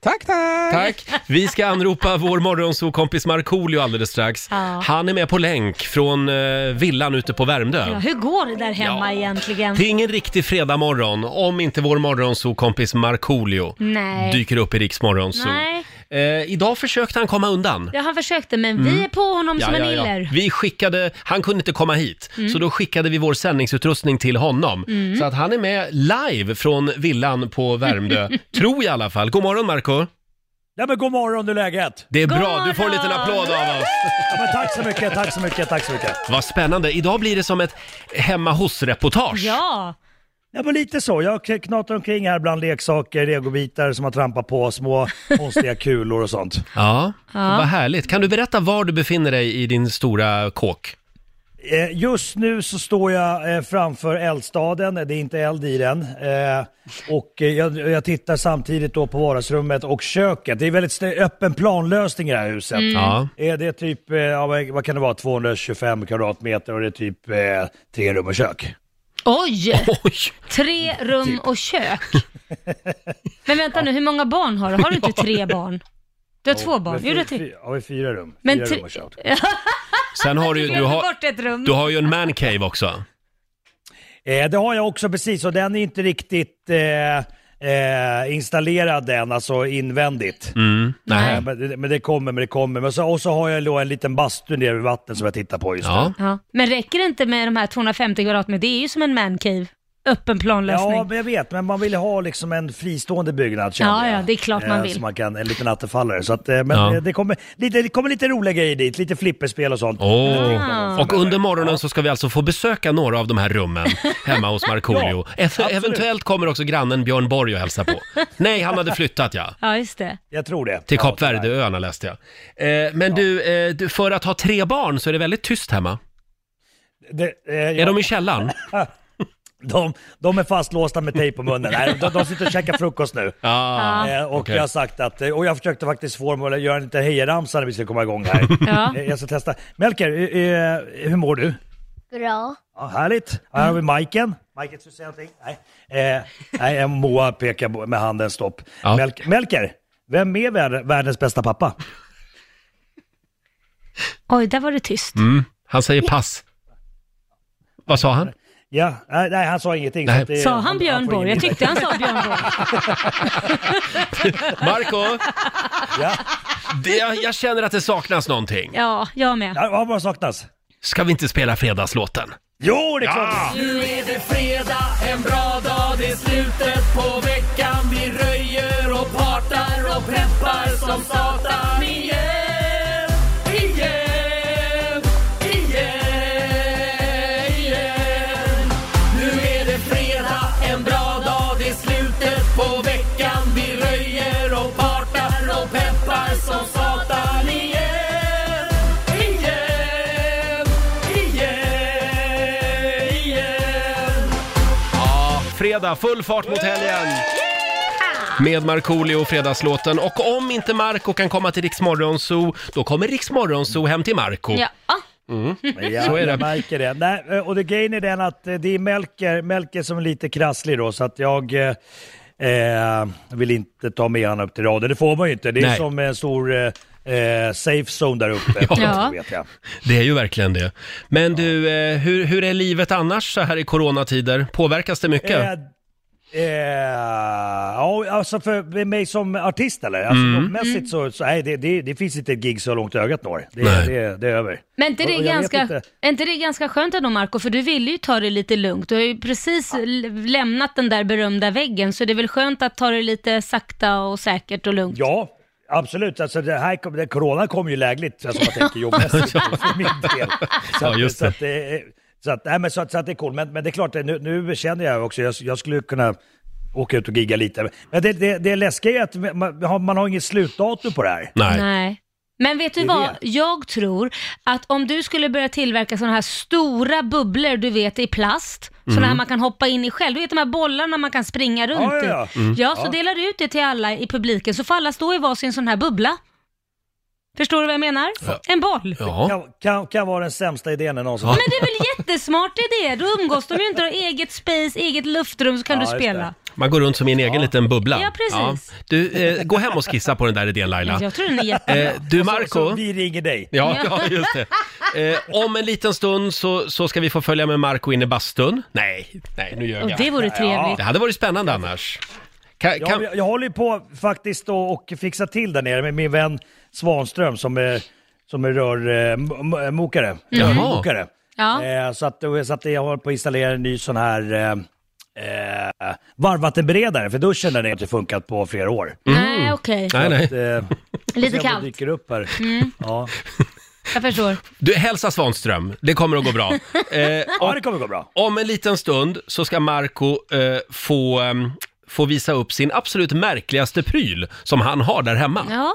Speaker 6: Tack, tack!
Speaker 1: Tack. Vi ska anropa vår morgonsokompis Markoolio alldeles strax.
Speaker 2: Ja.
Speaker 1: Han är med på länk från eh, villan ute på
Speaker 2: Ja,
Speaker 1: Värmdö.
Speaker 2: hur går det där hemma
Speaker 1: Ja.
Speaker 2: egentligen?
Speaker 1: Det är ingen riktig fredagmorgon om inte vår morgonsokompis Markoolio
Speaker 2: Nej.
Speaker 1: dyker upp i Riks morgonso.
Speaker 2: Nej.
Speaker 1: Eh, idag försökte han komma undan.
Speaker 2: Ja, han försökte, men vi är på honom som en iller.
Speaker 1: Vi skickade, han kunde inte komma hit,
Speaker 2: Mm.
Speaker 1: så då skickade vi vår sändningsutrustning till honom. Så att han är med live från villan
Speaker 2: [laughs]
Speaker 1: på Värmdö, tror jag i alla fall. God morgon Marco
Speaker 8: Nej men god morgon, du läget?
Speaker 1: Det är
Speaker 2: God
Speaker 1: bra, du får en liten
Speaker 2: morgon!
Speaker 1: applåd av oss.
Speaker 8: Ja, men tack så mycket, tack så mycket, tack så mycket.
Speaker 1: Vad spännande. Idag blir det som ett hemma hos-reportage.
Speaker 2: Ja,
Speaker 8: Ja men lite så, jag k- knatar omkring här bland leksaker, legobitar som har trampat på, små konstiga kulor och sånt.
Speaker 1: Ja,
Speaker 2: Ja.
Speaker 1: vad härligt. Kan du berätta var du befinner dig i din stora kåk?
Speaker 8: Eh, Just nu så står jag eh, framför eldstaden, det är inte eld i den. Eh, Och eh, jag, jag tittar samtidigt då på vardagsrummet och köket. Det är väldigt st- öppen planlösning i det här huset.
Speaker 2: Mm.
Speaker 1: Ja.
Speaker 8: Eh, Det är typ, eh, ja, men vad kan det vara, 225 kvadratmeter och det är typ eh, tre rum och kök.
Speaker 2: oj!
Speaker 1: Oj!
Speaker 2: Tre rum och kök. Men vänta nu, hur många barn har du? Har du inte tre barn? Du har två barn.
Speaker 8: Men
Speaker 2: Jo, du har
Speaker 8: fy-
Speaker 2: tre.
Speaker 8: fy- Ja, vi har fyra rum.
Speaker 2: Men
Speaker 8: fyra
Speaker 2: tre-
Speaker 8: rum och kök.
Speaker 1: Sen har du,
Speaker 2: Du
Speaker 1: du, har,
Speaker 2: bort ett rum.
Speaker 1: du har ju en mancave också.
Speaker 8: Eh, det har jag också precis och den är inte riktigt eh, eh, installerad än, alltså invändigt.
Speaker 1: Mm. Nej.
Speaker 8: Eh, men, men det kommer, men det kommer. Men så, och så har jag då en liten bastu nere vid vattnet som jag tittar på just
Speaker 1: Ja.
Speaker 8: nu.
Speaker 2: Ja. Men räcker det inte med de här 250 kvadratmeter? Det är ju som en mancave. Öppen planlösning.
Speaker 8: Ja, men jag vet, men man vill ha liksom en fristående byggnad känner
Speaker 2: Ja,
Speaker 8: jag.
Speaker 2: ja, det är klart man
Speaker 8: Eh,
Speaker 2: vill.
Speaker 8: Så man kan, en liten attefallare. Så att, eh, men
Speaker 1: Ja.
Speaker 8: eh, det, kommer lite, det kommer lite roliga grejer dit, lite flipperspel och sånt.
Speaker 1: Åh. Och under morgonen så ska vi alltså få besöka några av de
Speaker 8: [laughs]
Speaker 1: här rummen hemma hos Markoolio.
Speaker 8: Ja,
Speaker 1: Ev-
Speaker 8: absolut.
Speaker 1: Eventuellt kommer också grannen Björn Borg och hälsa på. Nej, han hade flyttat ja.
Speaker 2: Ja, just det.
Speaker 8: Jag tror det.
Speaker 1: Till Kap
Speaker 8: tyvärr.
Speaker 1: Verde-öarna läste jag. Eh, men du, eh, du, för att ha tre barn så är det väldigt tyst hemma.
Speaker 8: Det, eh,
Speaker 1: Är
Speaker 8: ja.
Speaker 1: de
Speaker 8: [laughs]
Speaker 1: i källaren?
Speaker 8: De, de är fastlåsta med tejp på munnen. Nej, de, de sitter och käkar frukost nu.
Speaker 1: Ah.
Speaker 8: Eh, och
Speaker 1: okej.
Speaker 8: jag har sagt att, eh, och jag försökte faktiskt få dem att göra en liten hejaramsa när vi ska komma igång här.
Speaker 2: [laughs] Ja.
Speaker 8: Eh, jag ska testa. Melker, eh, eh, hur mår du?
Speaker 9: Bra.
Speaker 8: Ja, härligt. Här har vi Majken. Majken, ska du säga någonting? Nej. Eh, nej, eh, Moa pekar på- med handen stopp.
Speaker 1: Ja.
Speaker 8: Melk, Melker, vem är vär- världens bästa pappa?
Speaker 2: Oj, där var det tyst.
Speaker 1: Mm. Han säger pass. Vad
Speaker 8: [laughs]
Speaker 1: sa han?
Speaker 8: Ja, nej, nej, han sa ingenting.
Speaker 1: Nej.
Speaker 8: att det-
Speaker 2: Sa han Björn
Speaker 8: får
Speaker 2: Borg?
Speaker 8: ingen
Speaker 2: Jag tyckte han sa Björn Borg.
Speaker 1: Marco,
Speaker 8: Ja,
Speaker 1: det, jag, jag känner att det saknas någonting.
Speaker 2: Ja, jag med.
Speaker 8: ja, vad bara saknas?
Speaker 1: Ska vi inte spela fredagslåten?
Speaker 8: Jo, det är klart!
Speaker 5: Nu är det fredag, en bra dag, det är slutet på veckan Vi röjer och partar och peppar som satan Igen, igen, igen, igen Nu är det fredag, en bra dag, det är slutet på veckan Vi röjer och partar och peppar som satan Igen, igen, igen, igen
Speaker 1: Fredag, full fart mot helgen! Med Markoolio och Fredagslåten. Och om inte Marco kan komma till Rix Morgon Zoo, då kommer Rix Morgon Zoo hem till Marco.
Speaker 2: Ja. Ah,
Speaker 8: Ja,
Speaker 1: Så är det.
Speaker 8: Jag märker det. Nej, eh, och det grejen är den att eh, det är Melker, Melker som är lite krasslig då, så att jag eh, eh, vill inte ta med honom upp till radion. Det får man ju inte. Det är
Speaker 1: Nej.
Speaker 8: som en stor eh, eh, safe zone där
Speaker 1: [laughs]
Speaker 8: uppe.
Speaker 2: Ja.
Speaker 8: Vet jag.
Speaker 1: Det är ju verkligen det. Men du, eh, hur, hur är livet annars så här i coronatider? Påverkas det mycket?
Speaker 8: Eh, eh, ja, alltså för mig som artist eller? Alltså
Speaker 1: Mm.
Speaker 8: jobbmässigt så, så nej, det, det, det finns inte ett gig så långt ögat når. Det,
Speaker 1: Nej.
Speaker 8: det, det är över.
Speaker 2: Men inte det
Speaker 8: Och-
Speaker 2: är
Speaker 8: och jag vet
Speaker 2: ganska,
Speaker 8: inte.
Speaker 2: är inte det är ganska skönt ändå Marco, för du ville ju ta det lite lugnt. Du har ju precis l- lämnat den där berömda väggen, så det är väl skönt att ta det lite sakta och säkert och lugnt.
Speaker 8: Ja, absolut. Alltså det här kom, det, corona kom ju lägligt, alltså, om man tänker
Speaker 1: [laughs]
Speaker 8: jobbmässigt för min del. Så,
Speaker 1: Ja,
Speaker 8: att-
Speaker 1: just
Speaker 8: så att det. är- Så att, nej, men så, att- så att det är coolt. Men, men det är klart, det- nu, nu känner jag också, jag, jag skulle kunna åka ut och gigga lite. Men det, det, det läskiga är att man, man har- man har inget slutdatum på det här.
Speaker 1: Nej.
Speaker 2: Nej. Men vet du
Speaker 8: Det är
Speaker 2: vad? Jag tror att om du skulle börja tillverka sådana här stora bubblor du vet i plast, sådana här man kan hoppa in i själv, du vet de här bollarna man kan springa runt
Speaker 8: Mm. Ja, ja, ja.
Speaker 2: i. Ja, så
Speaker 8: Ja.
Speaker 2: delar du ut det till alla i publiken, så får alla stå i varsin sån här bubbla. Förstår du vad jag menar? En boll.
Speaker 1: Ja.
Speaker 8: Kan, kan, kan vara den sämsta idén jag någonsin
Speaker 1: Ja.
Speaker 8: haft.
Speaker 2: Men det är väl jättesmart idé? Då umgås de ju inte, har eget space, eget luftrum, så kan
Speaker 8: Ja,
Speaker 2: du
Speaker 8: just
Speaker 2: spela.
Speaker 1: Man går runt som i en egen liten bubbla.
Speaker 2: Ja, precis.
Speaker 1: Du, eh, gå hem och skissa på den där idén Laila.
Speaker 2: Jag tror den är jättebra.
Speaker 1: Eh, du
Speaker 8: Så,
Speaker 1: Marco
Speaker 8: så Alltså, vi ringer dig.
Speaker 1: Ja, ja just det. Eh, om en liten stund så, så ska vi få följa med Marco in i bastun. Nej, nej nu
Speaker 2: Och
Speaker 1: ljög
Speaker 2: det
Speaker 1: jag.
Speaker 2: vore trevligt.
Speaker 1: Det hade varit spännande annars. Kan,
Speaker 8: Ja,
Speaker 1: kan,
Speaker 8: men jag, jag håller ju på faktiskt och, och fixa till där nere med min vän Svanström som är, som är rörmokare. Eh,
Speaker 1: Mm. Jaha.
Speaker 8: Mokare.
Speaker 2: Ja.
Speaker 8: Eh, så att, så att jag håller på att installera en ny sån här eh, eh, varmvattenberedare för duschen där nere har inte funkat på flera år.
Speaker 2: Nej, okej.
Speaker 1: nej, nej. [laughs]
Speaker 8: Eh,
Speaker 2: Lite
Speaker 8: se om det
Speaker 2: kallt. Mm.
Speaker 8: dyker upp här. Ja.
Speaker 2: Jag förstår.
Speaker 1: Du, hälsa Svanström. Det kommer att
Speaker 8: [laughs]
Speaker 1: gå bra. Eh,
Speaker 8: ja, det kommer gå bra.
Speaker 1: om en liten stund så ska Marco eh, få, ehm, få visa upp sin absolut märkligaste pryl som han har där hemma.
Speaker 2: Ja,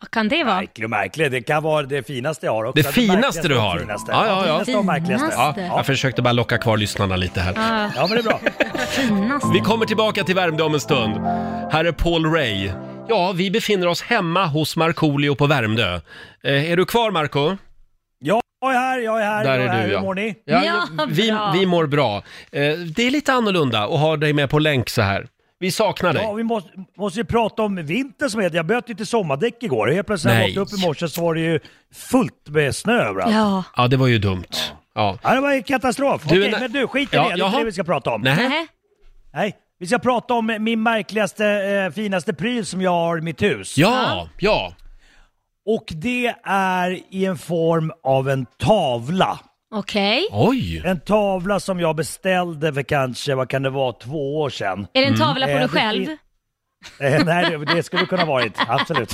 Speaker 2: vad kan det vara?
Speaker 8: Märklig och märklig, det kan vara det finaste jag har också.
Speaker 1: Det finaste
Speaker 8: märkligaste
Speaker 1: du
Speaker 8: och
Speaker 1: har.
Speaker 8: Finaste.
Speaker 1: Ja, ja, ja.
Speaker 8: Finaste och märkligaste.
Speaker 1: Ja,
Speaker 2: Just det.
Speaker 1: jag försökte bara locka kvar lyssnarna lite här.
Speaker 2: Ah,
Speaker 8: ja, men det är bra.
Speaker 2: finast.
Speaker 1: Vi kommer tillbaka till Värmdö om en stund. Här är Paul Ray. Ja, vi befinner oss hemma hos Markoolio på Värmdö. Eh, är du kvar Marco?
Speaker 8: Ja, jag är här, jag är här.
Speaker 1: Där
Speaker 8: jag
Speaker 1: är du,
Speaker 8: här.
Speaker 1: ja.
Speaker 8: Hur mår ni?
Speaker 2: Ja,
Speaker 1: vi,
Speaker 2: bra.
Speaker 1: vi mår bra. Eh, det är lite annorlunda att ha dig med på länk så här. Vi saknar dig.
Speaker 8: Ja, vi måste, måste ju prata om vintern som heter. Jag bytte ju till sommardäck igår. Helt plötsligt när jag
Speaker 1: Nej.
Speaker 8: vaknade upp i morse så var det ju fullt med snö överallt. Ja.
Speaker 2: Ja.
Speaker 1: Ja, det var ju dumt. Ja.
Speaker 8: det var ju katastrof.
Speaker 1: Du,
Speaker 8: Okej,
Speaker 1: men-
Speaker 8: men du, skit i
Speaker 1: Ja,
Speaker 8: det. Det är
Speaker 1: jaha.
Speaker 8: inte det vi ska prata om.
Speaker 1: Nej.
Speaker 2: Nähä.
Speaker 8: Nej, vi ska prata om min märkligaste, eh, finaste pryl som jag har i mitt hus.
Speaker 1: Ja, ja.
Speaker 8: Och det är i en form av en tavla.
Speaker 2: Okej.
Speaker 1: Oj.
Speaker 8: En tavla som jag beställde för kanske, vad kan det vara, två år sedan.
Speaker 2: Är det en tavla på
Speaker 8: Eh,
Speaker 2: dig
Speaker 8: det
Speaker 2: själv?
Speaker 8: fin- Eh, nej, det, det skulle det kunna varit. Absolut.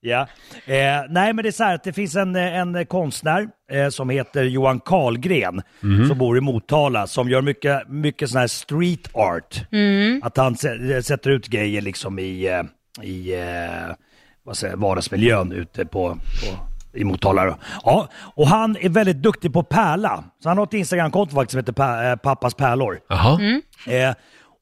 Speaker 8: ja. eh, nej, men det är så här att det finns en, eh, en konstnär eh, som heter Johan Karlgren som bor i Motala som gör mycket, mycket sån här street art. Att han sä- eh, sätter ut grejer liksom i, eh, i eh, vad säger, jag, vardagsmiljön ute på, på i Motala då. Ja, och han är väldigt duktig på pärla. Så han har ett Instagramkonto faktiskt som heter Pä- eh, Pappas pärlor.
Speaker 1: Jaha.
Speaker 8: Eh,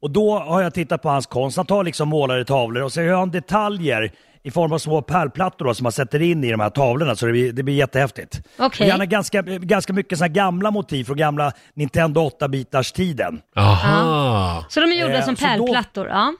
Speaker 8: och då har jag tittat på hans konst. Han tar liksom målade tavlor och så gör han detaljer i form av små pärlplattor då, som man sätter in i de här tavlorna så det blir, det blir jättehäftigt.
Speaker 2: Okej.
Speaker 8: Och Gärna ganska, ganska mycket såna här gamla motiv från gamla Nintendo 8-bitars tiden.
Speaker 1: Aha.
Speaker 2: Så de är gjorda
Speaker 8: Eh,
Speaker 2: som
Speaker 8: så då-
Speaker 2: pärlplattor? Ja.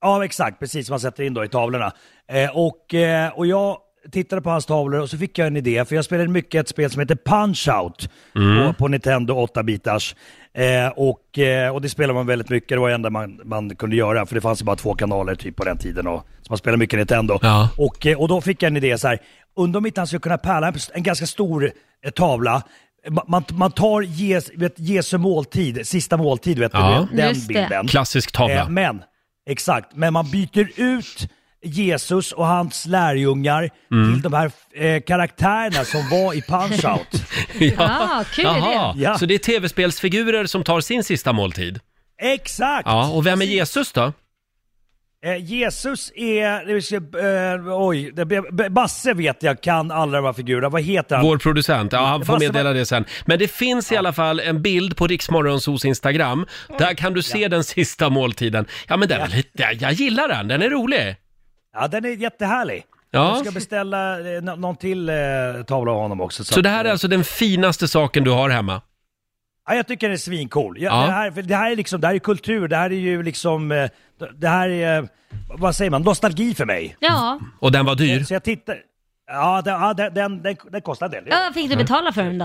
Speaker 8: Ja exakt, precis som man sätter in då i tavlorna. Eh, och, eh, och jag tittade på hans tavlor och så fick jag en idé, för jag spelade mycket ett spel som heter Punch-Out
Speaker 1: Mm.
Speaker 8: på, på Nintendo 8-bitars. Eh, och, eh, och det spelade man väldigt mycket, det var det enda man, man kunde göra, för det fanns ju bara två kanaler typ på den tiden. Och, så man spelade mycket Nintendo.
Speaker 1: Ja.
Speaker 8: Och, eh, och då fick jag en idé så här, undrar om inte han skulle kunna pärla en, en ganska stor eh, tavla. Ma- Man, man tar Jes, vet, Jesu måltid, sista måltid, vet
Speaker 1: Ja.
Speaker 8: du, den
Speaker 2: Just det.
Speaker 8: bilden.
Speaker 1: Klassisk tavla.
Speaker 8: Eh, men, exakt. Men man byter ut Jesus och hans lärjungar
Speaker 1: Mm.
Speaker 8: till de här eh, karaktärerna som var i
Speaker 1: [laughs]
Speaker 8: Punch-Out.
Speaker 2: Ja, kul
Speaker 1: Jaha.
Speaker 8: Ja.
Speaker 1: Så det är tv-spelsfigurer som tar sin sista måltid.
Speaker 8: exakt!
Speaker 1: Ja, och vem är Jesus då?
Speaker 8: Eh, Jesus är, det vill säga, eh, oj, det, blev- Basse vet jag kan alla de här figurerna. Vad heter han?
Speaker 1: Vår producent, ja han får
Speaker 8: Fast det
Speaker 1: meddela
Speaker 8: var-
Speaker 1: det sen. Men det finns i alla fall en bild på Riksmorgonsos Instagram. Där kan du se den sista måltiden. Ja men den är lite, jag gillar den, den är rolig.
Speaker 8: Ja, den är jättehärlig.
Speaker 1: Ja.
Speaker 8: Jag ska beställa eh, nå- någon till eh, tavla av honom också.
Speaker 1: Så det här
Speaker 8: att,
Speaker 1: är
Speaker 8: eh,
Speaker 1: alltså den finaste saken du har hemma?
Speaker 8: Ja, jag tycker den är svincool. Ja,
Speaker 1: Ja.
Speaker 8: Det, här, för det här är liksom, det här är kultur, det här är ju liksom, eh, det här är, eh, vad säger man, nostalgi för mig.
Speaker 2: Ja.
Speaker 1: Och den var dyr?
Speaker 8: Så jag tittar, ja den, ja, den, den, den, den kostar en del.
Speaker 2: ja, vad fick du betala för den då?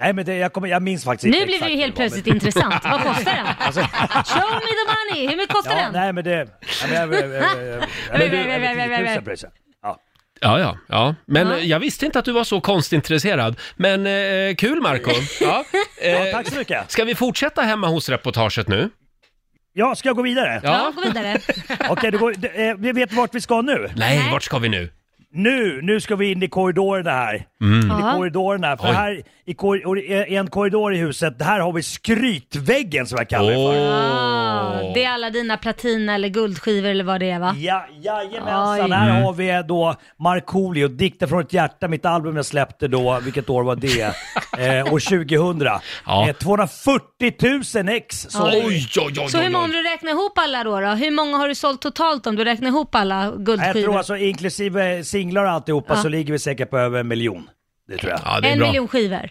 Speaker 8: Nej men Mm. det, jag, kommer, jag minns faktiskt
Speaker 2: Nu
Speaker 8: inte
Speaker 2: blir det
Speaker 8: exakt
Speaker 2: ju helt
Speaker 8: hur det var,
Speaker 2: plötsligt intressant. Vad kostar
Speaker 8: [laughs]
Speaker 2: den? Show me the money! Hur mycket kostar
Speaker 8: men, Ja,
Speaker 2: den?
Speaker 8: nej men det, ja, men jag, jag, jag, jag,
Speaker 2: [laughs]
Speaker 8: jag,
Speaker 2: Nej,
Speaker 8: men
Speaker 2: nej,
Speaker 8: du,
Speaker 2: nej, nej, nej,
Speaker 8: över 10
Speaker 2: nej.
Speaker 8: 000 pröjsar. Ja.
Speaker 1: Ja, ja, ja. Men
Speaker 2: Ja.
Speaker 1: eh, jag visste inte att du var så konstintresserad. Men eh, kul Marco [laughs] ja.
Speaker 8: ja,
Speaker 1: eh,
Speaker 8: tack så mycket.
Speaker 1: Ska vi fortsätta hemma hos-reportaget nu?
Speaker 8: Ja, ska jag gå vidare?
Speaker 2: Ja, gå
Speaker 8: [laughs]
Speaker 2: vidare.
Speaker 8: Okej, då går, d- eh, vi vet vart vi ska nu.
Speaker 1: Nej,
Speaker 2: Nej.
Speaker 1: vart ska vi nu?
Speaker 8: Nu, nu ska vi in i korridorerna här. In i
Speaker 2: Ja.
Speaker 8: korridorerna. För
Speaker 1: Oj.
Speaker 8: här i, korri- i en korridor i huset, här har vi skrytväggen som jag kallar det för.
Speaker 1: Åh,
Speaker 2: Ja, det är alla dina platina eller guldskivor eller vad det är va?
Speaker 8: Ja, jajamensan,
Speaker 2: Oj.
Speaker 8: här har vi eh, då Markoolio, Dikter från ett hjärta, mitt album jag släppte då, vilket år var det? eh, år 2000.
Speaker 1: Ja.
Speaker 8: Eh, 240 000 ex så
Speaker 2: Oj.
Speaker 1: Oj, oj, oj,
Speaker 2: Så hur
Speaker 1: oj,
Speaker 2: många, om
Speaker 1: oj.
Speaker 2: du räknar ihop alla då, då? Hur många har du sålt totalt om du räknar ihop alla
Speaker 8: Jag tror
Speaker 2: guldskivor?
Speaker 8: alltså inklusive singlar och alltihopa
Speaker 2: Ja.
Speaker 8: så ligger vi säkert på över en miljon. Det tror jag.
Speaker 1: Ja, det är
Speaker 2: En
Speaker 1: bra.
Speaker 2: miljon skivor.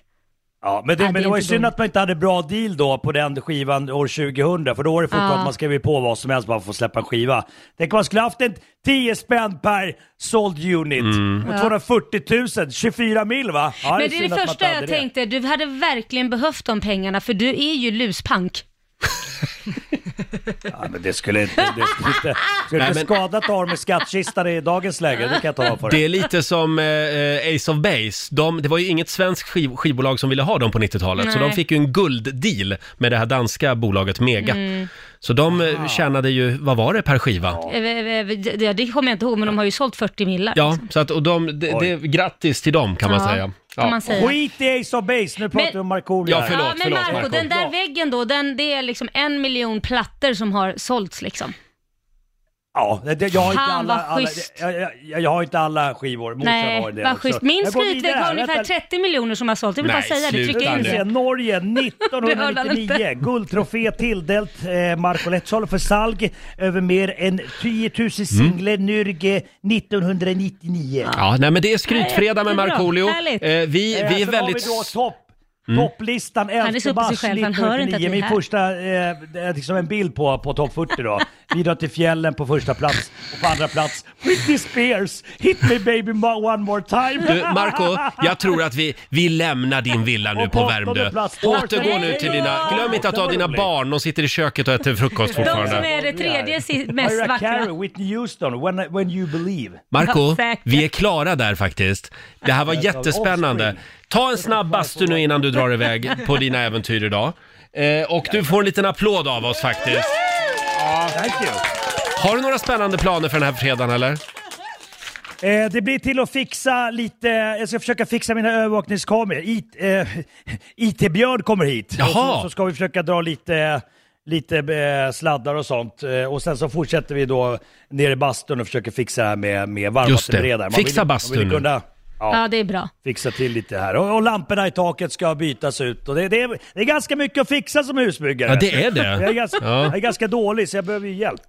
Speaker 8: Ja, men det,
Speaker 2: Ja, det
Speaker 8: men
Speaker 2: är
Speaker 8: det var ju
Speaker 2: inte
Speaker 8: synd
Speaker 2: dåligt.
Speaker 8: att man inte hade bra deal då på den skivan år 2000, för då var det fortfarande
Speaker 2: Ja.
Speaker 8: att man skrev ju på vad som helst bara för att släppa en skiva. Tänk om man skulle haft en 10 spänn per såld unit.
Speaker 1: Mm.
Speaker 8: Och 240 000, 24 mil va? Ja,
Speaker 2: Men det är
Speaker 8: synd
Speaker 2: det
Speaker 8: att man
Speaker 2: första
Speaker 8: inte
Speaker 2: jag
Speaker 8: hade det.
Speaker 2: tänkte, du hade verkligen behövt de pengarna för du är ju luspank.
Speaker 8: Ja, men det skulle inte, det skulle inte,
Speaker 2: [laughs]
Speaker 8: skulle
Speaker 1: Nej,
Speaker 8: inte
Speaker 1: men-
Speaker 8: skada att ha dem i skattkistan i dagens läge, det kan jag ta för.
Speaker 1: Det är lite som eh, eh, Ace of Base. De, det var ju inget svenskt skiv, skivbolag som ville ha dem på 90-talet, så
Speaker 2: Nej.
Speaker 1: de fick ju en gulddeal med det här danska bolaget Mega.
Speaker 2: Mm.
Speaker 1: Så de eh, tjänade ju, vad var det per skiva?
Speaker 2: Eh, eh, eh, Det, det kommer jag inte ihåg, men de har ju sålt 40 millar.
Speaker 1: Ja, så att, och de, det,
Speaker 8: Oj.
Speaker 1: det, grattis till dem kan man
Speaker 2: Ja,
Speaker 1: säga.
Speaker 2: Kan
Speaker 1: Ja.
Speaker 2: man säga.
Speaker 8: Skit i Ace of Base, nu pratar
Speaker 2: Men-
Speaker 8: vi om Markoolio
Speaker 1: Ja,
Speaker 8: här.
Speaker 1: förlåt,
Speaker 2: ja, men
Speaker 1: förlåt,
Speaker 2: Marco,
Speaker 1: Marco.
Speaker 2: den där
Speaker 8: Bra.
Speaker 2: väggen då, den, det är liksom en miljon plattor som har sålts liksom.
Speaker 8: Ja, det- det, jag, har inte
Speaker 2: Fan,
Speaker 8: alla,
Speaker 2: vad
Speaker 8: alla,
Speaker 2: schysst.
Speaker 8: jag, jag, jag, jag har inte alla skivor. Morsan har
Speaker 2: Nej,
Speaker 8: en del
Speaker 2: vad
Speaker 8: också.
Speaker 2: schysst. Min
Speaker 8: Jag går
Speaker 2: skrytvägg
Speaker 8: vidare,
Speaker 2: har ungefär
Speaker 8: vänta.
Speaker 2: 30 miljoner som har sålt. Jag vill
Speaker 1: Nej,
Speaker 2: bara säga det,
Speaker 1: sluta
Speaker 2: trycka in
Speaker 1: nu.
Speaker 8: Se,
Speaker 2: det.
Speaker 1: [laughs]
Speaker 8: Norge
Speaker 2: Det hörde han
Speaker 8: 1999.
Speaker 2: inte.
Speaker 8: Guldtrofé tilldelt eh, Marco Letzol för salg över mer än 10 000 singlar
Speaker 1: Mm.
Speaker 8: Nürge 1999.
Speaker 1: Ja, nej men det är skrytfredag med
Speaker 2: jättebra.
Speaker 1: Markoolio.
Speaker 2: Härligt.
Speaker 1: Eh, vi, vi
Speaker 8: Eh,
Speaker 1: är
Speaker 8: så
Speaker 1: väldigt... Mm.
Speaker 8: har vi då topp, topplistan 11
Speaker 2: Han är så uppe i sig
Speaker 8: mars
Speaker 2: själv, han hör inte att vi
Speaker 8: 1999.
Speaker 2: är
Speaker 8: Min
Speaker 2: här.
Speaker 8: första, eh, det är liksom en bild på, på topp 40
Speaker 2: [laughs]
Speaker 8: då. Vi drar till fjällen på första plats och på andra plats Britney Spears, Hit Me Baby mo- One More Time.
Speaker 1: Du,
Speaker 8: [laughs]
Speaker 1: Marco, jag tror att vi, vi lämnar din villa nu
Speaker 8: Och
Speaker 1: på
Speaker 8: på
Speaker 1: Värmdö.
Speaker 8: åttonde plats, Torsten.
Speaker 1: Återgå nu till dina... Glöm inte att ta dina barn, de sitter i köket och äter frukost
Speaker 2: De som
Speaker 1: fortfarande.
Speaker 2: är det tredje si- mest
Speaker 8: Mariah
Speaker 2: vackra.
Speaker 8: Carey, Whitney Houston, when, I- when You Believe.
Speaker 1: Marco,
Speaker 2: Ja, säkert.
Speaker 1: vi är klara där faktiskt. Det här var jättespännande. Ta en snabb bastu nu innan du drar iväg på dina äventyr idag. Eh, och du får en liten applåd av oss faktiskt.
Speaker 8: Thank you.
Speaker 1: Har du några spännande planer för den här fredagen eller?
Speaker 8: Eh, det blir till att fixa lite, jag ska försöka fixa mina övervakningskameror. IT, eh, [laughs] IT-Björn kommer hit. Och
Speaker 1: Jaha.
Speaker 8: så, så ska vi försöka dra lite, lite eh, sladdar och sånt. Eh, och sen så fortsätter vi då nere i bastun och försöker fixa det här med, med varmvattenberedare. Man
Speaker 1: Fixa
Speaker 8: vill- man
Speaker 1: bastun
Speaker 8: vill
Speaker 1: nu.
Speaker 8: kunna,
Speaker 2: Ja, det är bra.
Speaker 8: Fixa till lite här. Och, och lamporna i taket ska bytas ut. Och det, det, är, det är ganska mycket att fixa som husbyggare.
Speaker 1: Ja, det är
Speaker 8: Jag är,
Speaker 1: det.
Speaker 8: ganska,
Speaker 1: Ja.
Speaker 8: jag är ganska dålig så jag behöver ju hjälp.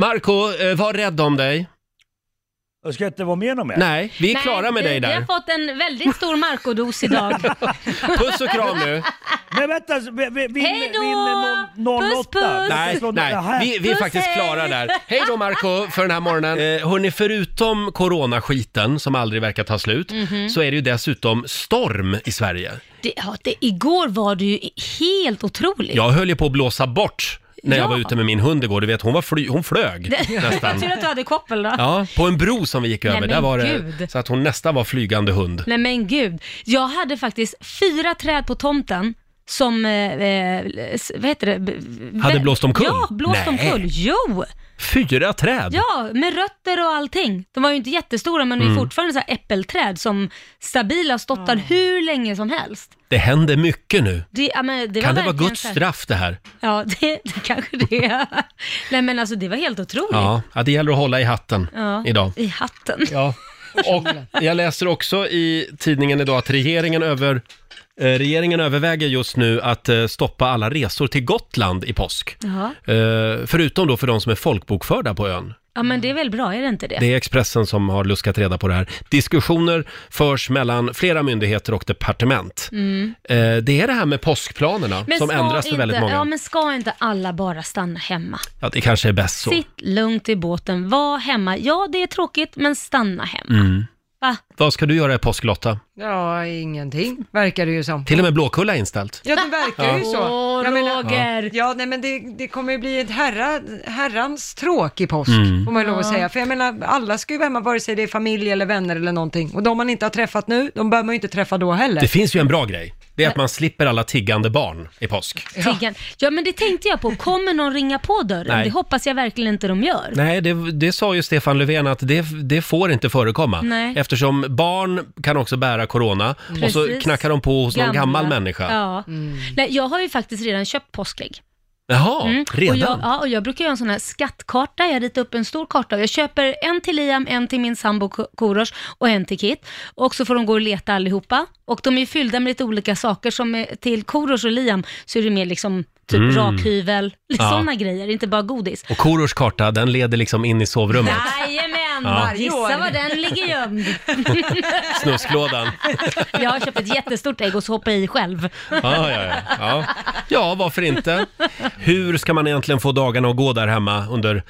Speaker 1: Marco, eh, var rädd om dig.
Speaker 8: Jag ska inte vara med om det.
Speaker 1: Nej, vi är
Speaker 2: Nej,
Speaker 1: klara med
Speaker 2: vi,
Speaker 1: dig
Speaker 2: Vi
Speaker 1: där.
Speaker 2: har fått en väldigt stor Marco-dos
Speaker 1: [laughs]
Speaker 2: idag.
Speaker 1: Puss och kram nu.
Speaker 8: Men vänta, vi- vi- vill,
Speaker 2: Hej då!
Speaker 8: vill någon,
Speaker 2: Puss,
Speaker 8: 08?
Speaker 2: [laughs] puss!
Speaker 1: Nej,
Speaker 8: Slå-
Speaker 1: nej.
Speaker 8: Nähä.
Speaker 1: Vi, vi är
Speaker 2: Puss,
Speaker 1: faktiskt
Speaker 2: hej.
Speaker 1: klara där. Hej då Marco för den här morgonen. Eh, hörni, förutom coronaskiten som aldrig verkar ta slut
Speaker 2: Mhm.
Speaker 1: så är det ju dessutom storm i Sverige.
Speaker 2: Det, ja, det, igår var det ju helt otroligt. [laughs]
Speaker 1: Jag höll ju på att blåsa bort när jag
Speaker 2: Ja.
Speaker 1: var ute med min hund igår. Du vet, hon, var fly, hon flög
Speaker 2: [laughs]
Speaker 1: nästan.
Speaker 2: Tur att du hade koppel då.
Speaker 1: Ja, på en bro som vi gick över.
Speaker 2: men
Speaker 1: Där var det
Speaker 2: gud.
Speaker 1: så att hon nästan var flygande hund.
Speaker 2: Nej men gud. Jag hade faktiskt fyra träd på tomten som, eh, eh, s- vad heter det? B- b-
Speaker 1: Hade blåst omkull?
Speaker 2: Ja, blåst
Speaker 1: Nej.
Speaker 2: omkull. Jo!
Speaker 1: Fyra träd!
Speaker 2: Ja, med rötter och allting. De var ju inte jättestora men
Speaker 1: Mm.
Speaker 2: det är fortfarande så här äppelträd som stabila har stått där hur länge som helst.
Speaker 1: Det händer mycket nu.
Speaker 2: Det, ja, men det
Speaker 1: Kan
Speaker 2: var
Speaker 1: det vara
Speaker 2: verkligen
Speaker 1: Guds
Speaker 2: så här-
Speaker 1: straff det här?
Speaker 2: Ja, det, [laughs] det kanske det är. Nej men alltså det var helt otroligt.
Speaker 1: Ja, ja, det gäller att hålla i hatten
Speaker 2: Ja,
Speaker 1: idag.
Speaker 2: I hatten.
Speaker 1: Ja. Och jag läser också i tidningen idag att regeringen, över, eh, regeringen överväger just nu att eh, stoppa alla resor till Gotland i påsk.
Speaker 2: Ja.
Speaker 1: Eh, förutom då för de som är folkbokförda på ön.
Speaker 2: ja, men det är väl bra, är det inte det?
Speaker 1: Det är Expressen som har luskat reda på det här. Diskussioner förs mellan flera myndigheter och departement. Eh, det är det här med påskplanerna som
Speaker 2: Mm. ska
Speaker 1: ändras för
Speaker 2: inte,
Speaker 1: väldigt många.
Speaker 2: Ja,
Speaker 1: Ja,
Speaker 2: men ska inte alla bara stanna hemma?
Speaker 1: det kanske är bäst så.
Speaker 2: Sitt lugnt i båten, var hemma. Ja, det är tråkigt, men stanna hemma.
Speaker 1: Mm.
Speaker 2: Va?
Speaker 1: Vad ska du göra i påsk Lotta?
Speaker 3: Ja, ingenting verkar det ju som.
Speaker 1: Till och med Blåkulla är inställt.
Speaker 3: Ja, det verkar ju så.
Speaker 2: Åh,
Speaker 3: Jag menar-
Speaker 2: Roger!
Speaker 3: Ja, nej men det, det kommer ju bli ett herra, herrans tråkig påsk, får man ju lov att säga. För jag menar, alla ska ju vara hemma, vare sig det är familj eller vänner eller någonting. Och de man inte har träffat nu, de bör man ju inte träffa då heller.
Speaker 1: Det finns ju en bra grej. Det är att man slipper alla tiggande barn i påsk.
Speaker 2: Tiggan. Ja, men det tänkte jag på. Kommer någon ringa på dörren?
Speaker 1: Nej.
Speaker 2: Det hoppas jag verkligen inte de gör.
Speaker 1: Nej, det, det sa ju Stefan Löfven att det, det får inte förekomma.
Speaker 2: Nej.
Speaker 1: Eftersom barn kan också bära corona och så
Speaker 2: Precis.
Speaker 1: knackar de på hos någon gammal
Speaker 2: Gamla.
Speaker 1: människa.
Speaker 2: Ja. Nej, jag har ju faktiskt redan köpt påskägg. Mm.
Speaker 1: Jaha,
Speaker 2: Och jag,
Speaker 1: redan?
Speaker 2: ja, och jag brukar göra en sån här skattkarta. Jag ritar upp en stor karta och jag köper en till Liam, en till min sambo Ko- Korosh och en till Kit. Och så får de gå och leta allihopa. Och de är ju fyllda med lite olika saker. Som är, till Korosh och Liam så är det mer liksom typ rakhyvel, lite
Speaker 1: Mm.
Speaker 2: [laughs]
Speaker 1: Ja.
Speaker 2: sådana grejer, inte bara godis.
Speaker 1: Och Korosh karta, den leder liksom in i sovrummet,
Speaker 2: Jajamän,
Speaker 1: Ja.
Speaker 2: gissa var den ligger gömd.
Speaker 1: snusklådan.
Speaker 2: Jag har köpt ett jättestort ägg och så hoppar jag i själv.
Speaker 1: Ja, ja, ja. Ja. ja, varför inte? Hur ska man egentligen få dagarna att gå där hemma under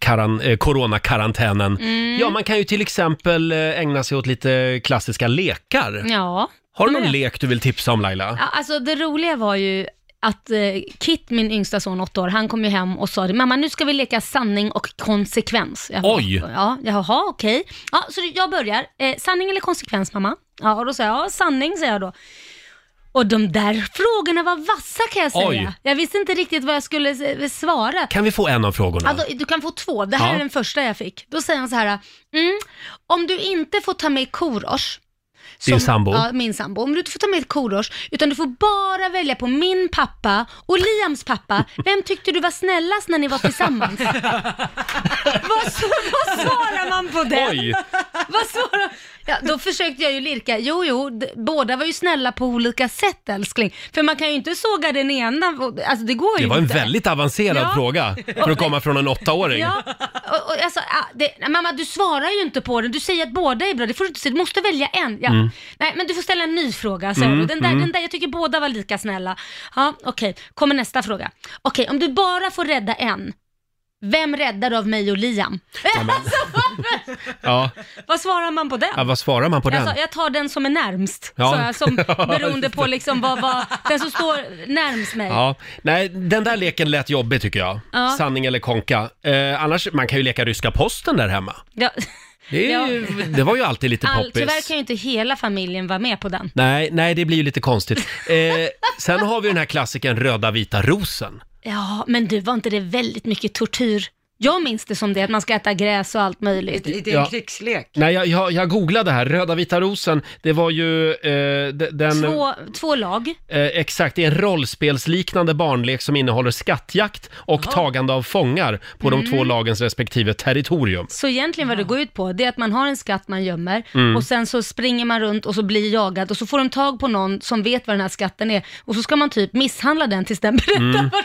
Speaker 1: karan- eh, coronakarantänen?
Speaker 2: Mm.
Speaker 1: Ja, man kan ju till exempel eh, ägna sig åt lite klassiska lekar.
Speaker 2: Ja.
Speaker 1: Har du någon
Speaker 2: Mm.
Speaker 1: lek du vill tipsa om Laila?
Speaker 2: Ja, Alltså det roliga var ju att eh, Kit, min yngsta son, åtta år, han kom ju hem och sa det, mamma nu ska vi leka sanning och konsekvens. Jag bara,
Speaker 1: Oj.
Speaker 2: Ja, jaha okej. Ja, så jag börjar. Eh, sanning eller konsekvens mamma? Ja, och då säger jag, ja sanning säger jag då. Och de där frågorna var vassa kan jag säga.
Speaker 1: Oj.
Speaker 2: Jag visste inte riktigt vad jag skulle eh, svara.
Speaker 1: Kan vi få en av frågorna?
Speaker 2: Ja, då, du kan få två. Det här
Speaker 1: Ja.
Speaker 2: är den första jag fick. Då säger han så här, mm, om du inte får ta med Korosh.
Speaker 1: Din sambo.
Speaker 2: Ja, min sambo. Om du inte får ta med Korosh, utan du får bara välja på min pappa och Liams pappa. Vem tyckte du var snällast när ni var
Speaker 1: [laughs]
Speaker 2: tillsammans? vad, så, vad svarar man på det?
Speaker 1: Oj!
Speaker 2: Vad svarar ja, Då försökte jag ju lirka. Jo, jo, d- båda var ju snälla på olika sätt älskling. För man kan ju inte såga den ena. Alltså det går ju
Speaker 1: Det var en
Speaker 2: inte.
Speaker 1: väldigt avancerad
Speaker 2: Ja.
Speaker 1: fråga för att komma från en åttaåring.
Speaker 2: Ja, och, och alltså, ah, det, mamma du svarar ju inte på den, du säger att båda är bra, det får du inte säga, du måste välja en. Ja.
Speaker 1: Mm.
Speaker 2: Nej men du får ställa en ny fråga, säger du. Den där, den där, jag tycker båda var lika snälla. Ja, okej, kommer nästa fråga. Okej, om du bara får rädda en, vem räddar du av mig och Liam? alltså, vad,
Speaker 1: Ja.
Speaker 2: [laughs] vad svarar man på den?
Speaker 1: Ja, vad svarar man på den?
Speaker 2: Alltså, jag tar den som är närmst,
Speaker 1: [laughs] Ja.
Speaker 2: så jag, som, beroende på liksom vad, vad, den som står närmst mig.
Speaker 1: Ja, nej, den där leken lät jobbig tycker jag.
Speaker 2: Ja.
Speaker 1: Sanning eller konka. Eh, annars, man kan ju leka ryska posten där hemma.
Speaker 2: Ja.
Speaker 1: Det, är
Speaker 2: Ja.
Speaker 1: ju, det var ju alltid lite
Speaker 2: All,
Speaker 1: poppis.
Speaker 2: tyvärr kan ju inte hela familjen vara med på den.
Speaker 1: Nej, nej, det blir ju lite konstigt. Eh, sen har vi den här klassiken röda vita rosen.
Speaker 2: Ja, men du, var inte det väldigt mycket tortyr? Jag minns det som det, att man ska äta gräs och allt möjligt.
Speaker 3: Det är en
Speaker 1: Ja.
Speaker 3: krigslek.
Speaker 1: Nej, jag, jag, jag googlade här. Röda vita rosen, det var ju eh, d- den...
Speaker 2: Två, två lag.
Speaker 1: Eh, exakt, det är en rollspelsliknande barnlek som innehåller skattjakt och tagande av fångar på de
Speaker 2: Mm.
Speaker 1: två lagens respektive territorium.
Speaker 2: Så egentligen vad det går ut på, det är att man har en skatt man gömmer
Speaker 1: Mm.
Speaker 2: och sen så springer man runt och så blir jagad och så får de tag på någon som vet vad den här skatten är och så ska man typ misshandla den tills den [laughs] berättar
Speaker 1: Mm.
Speaker 2: vad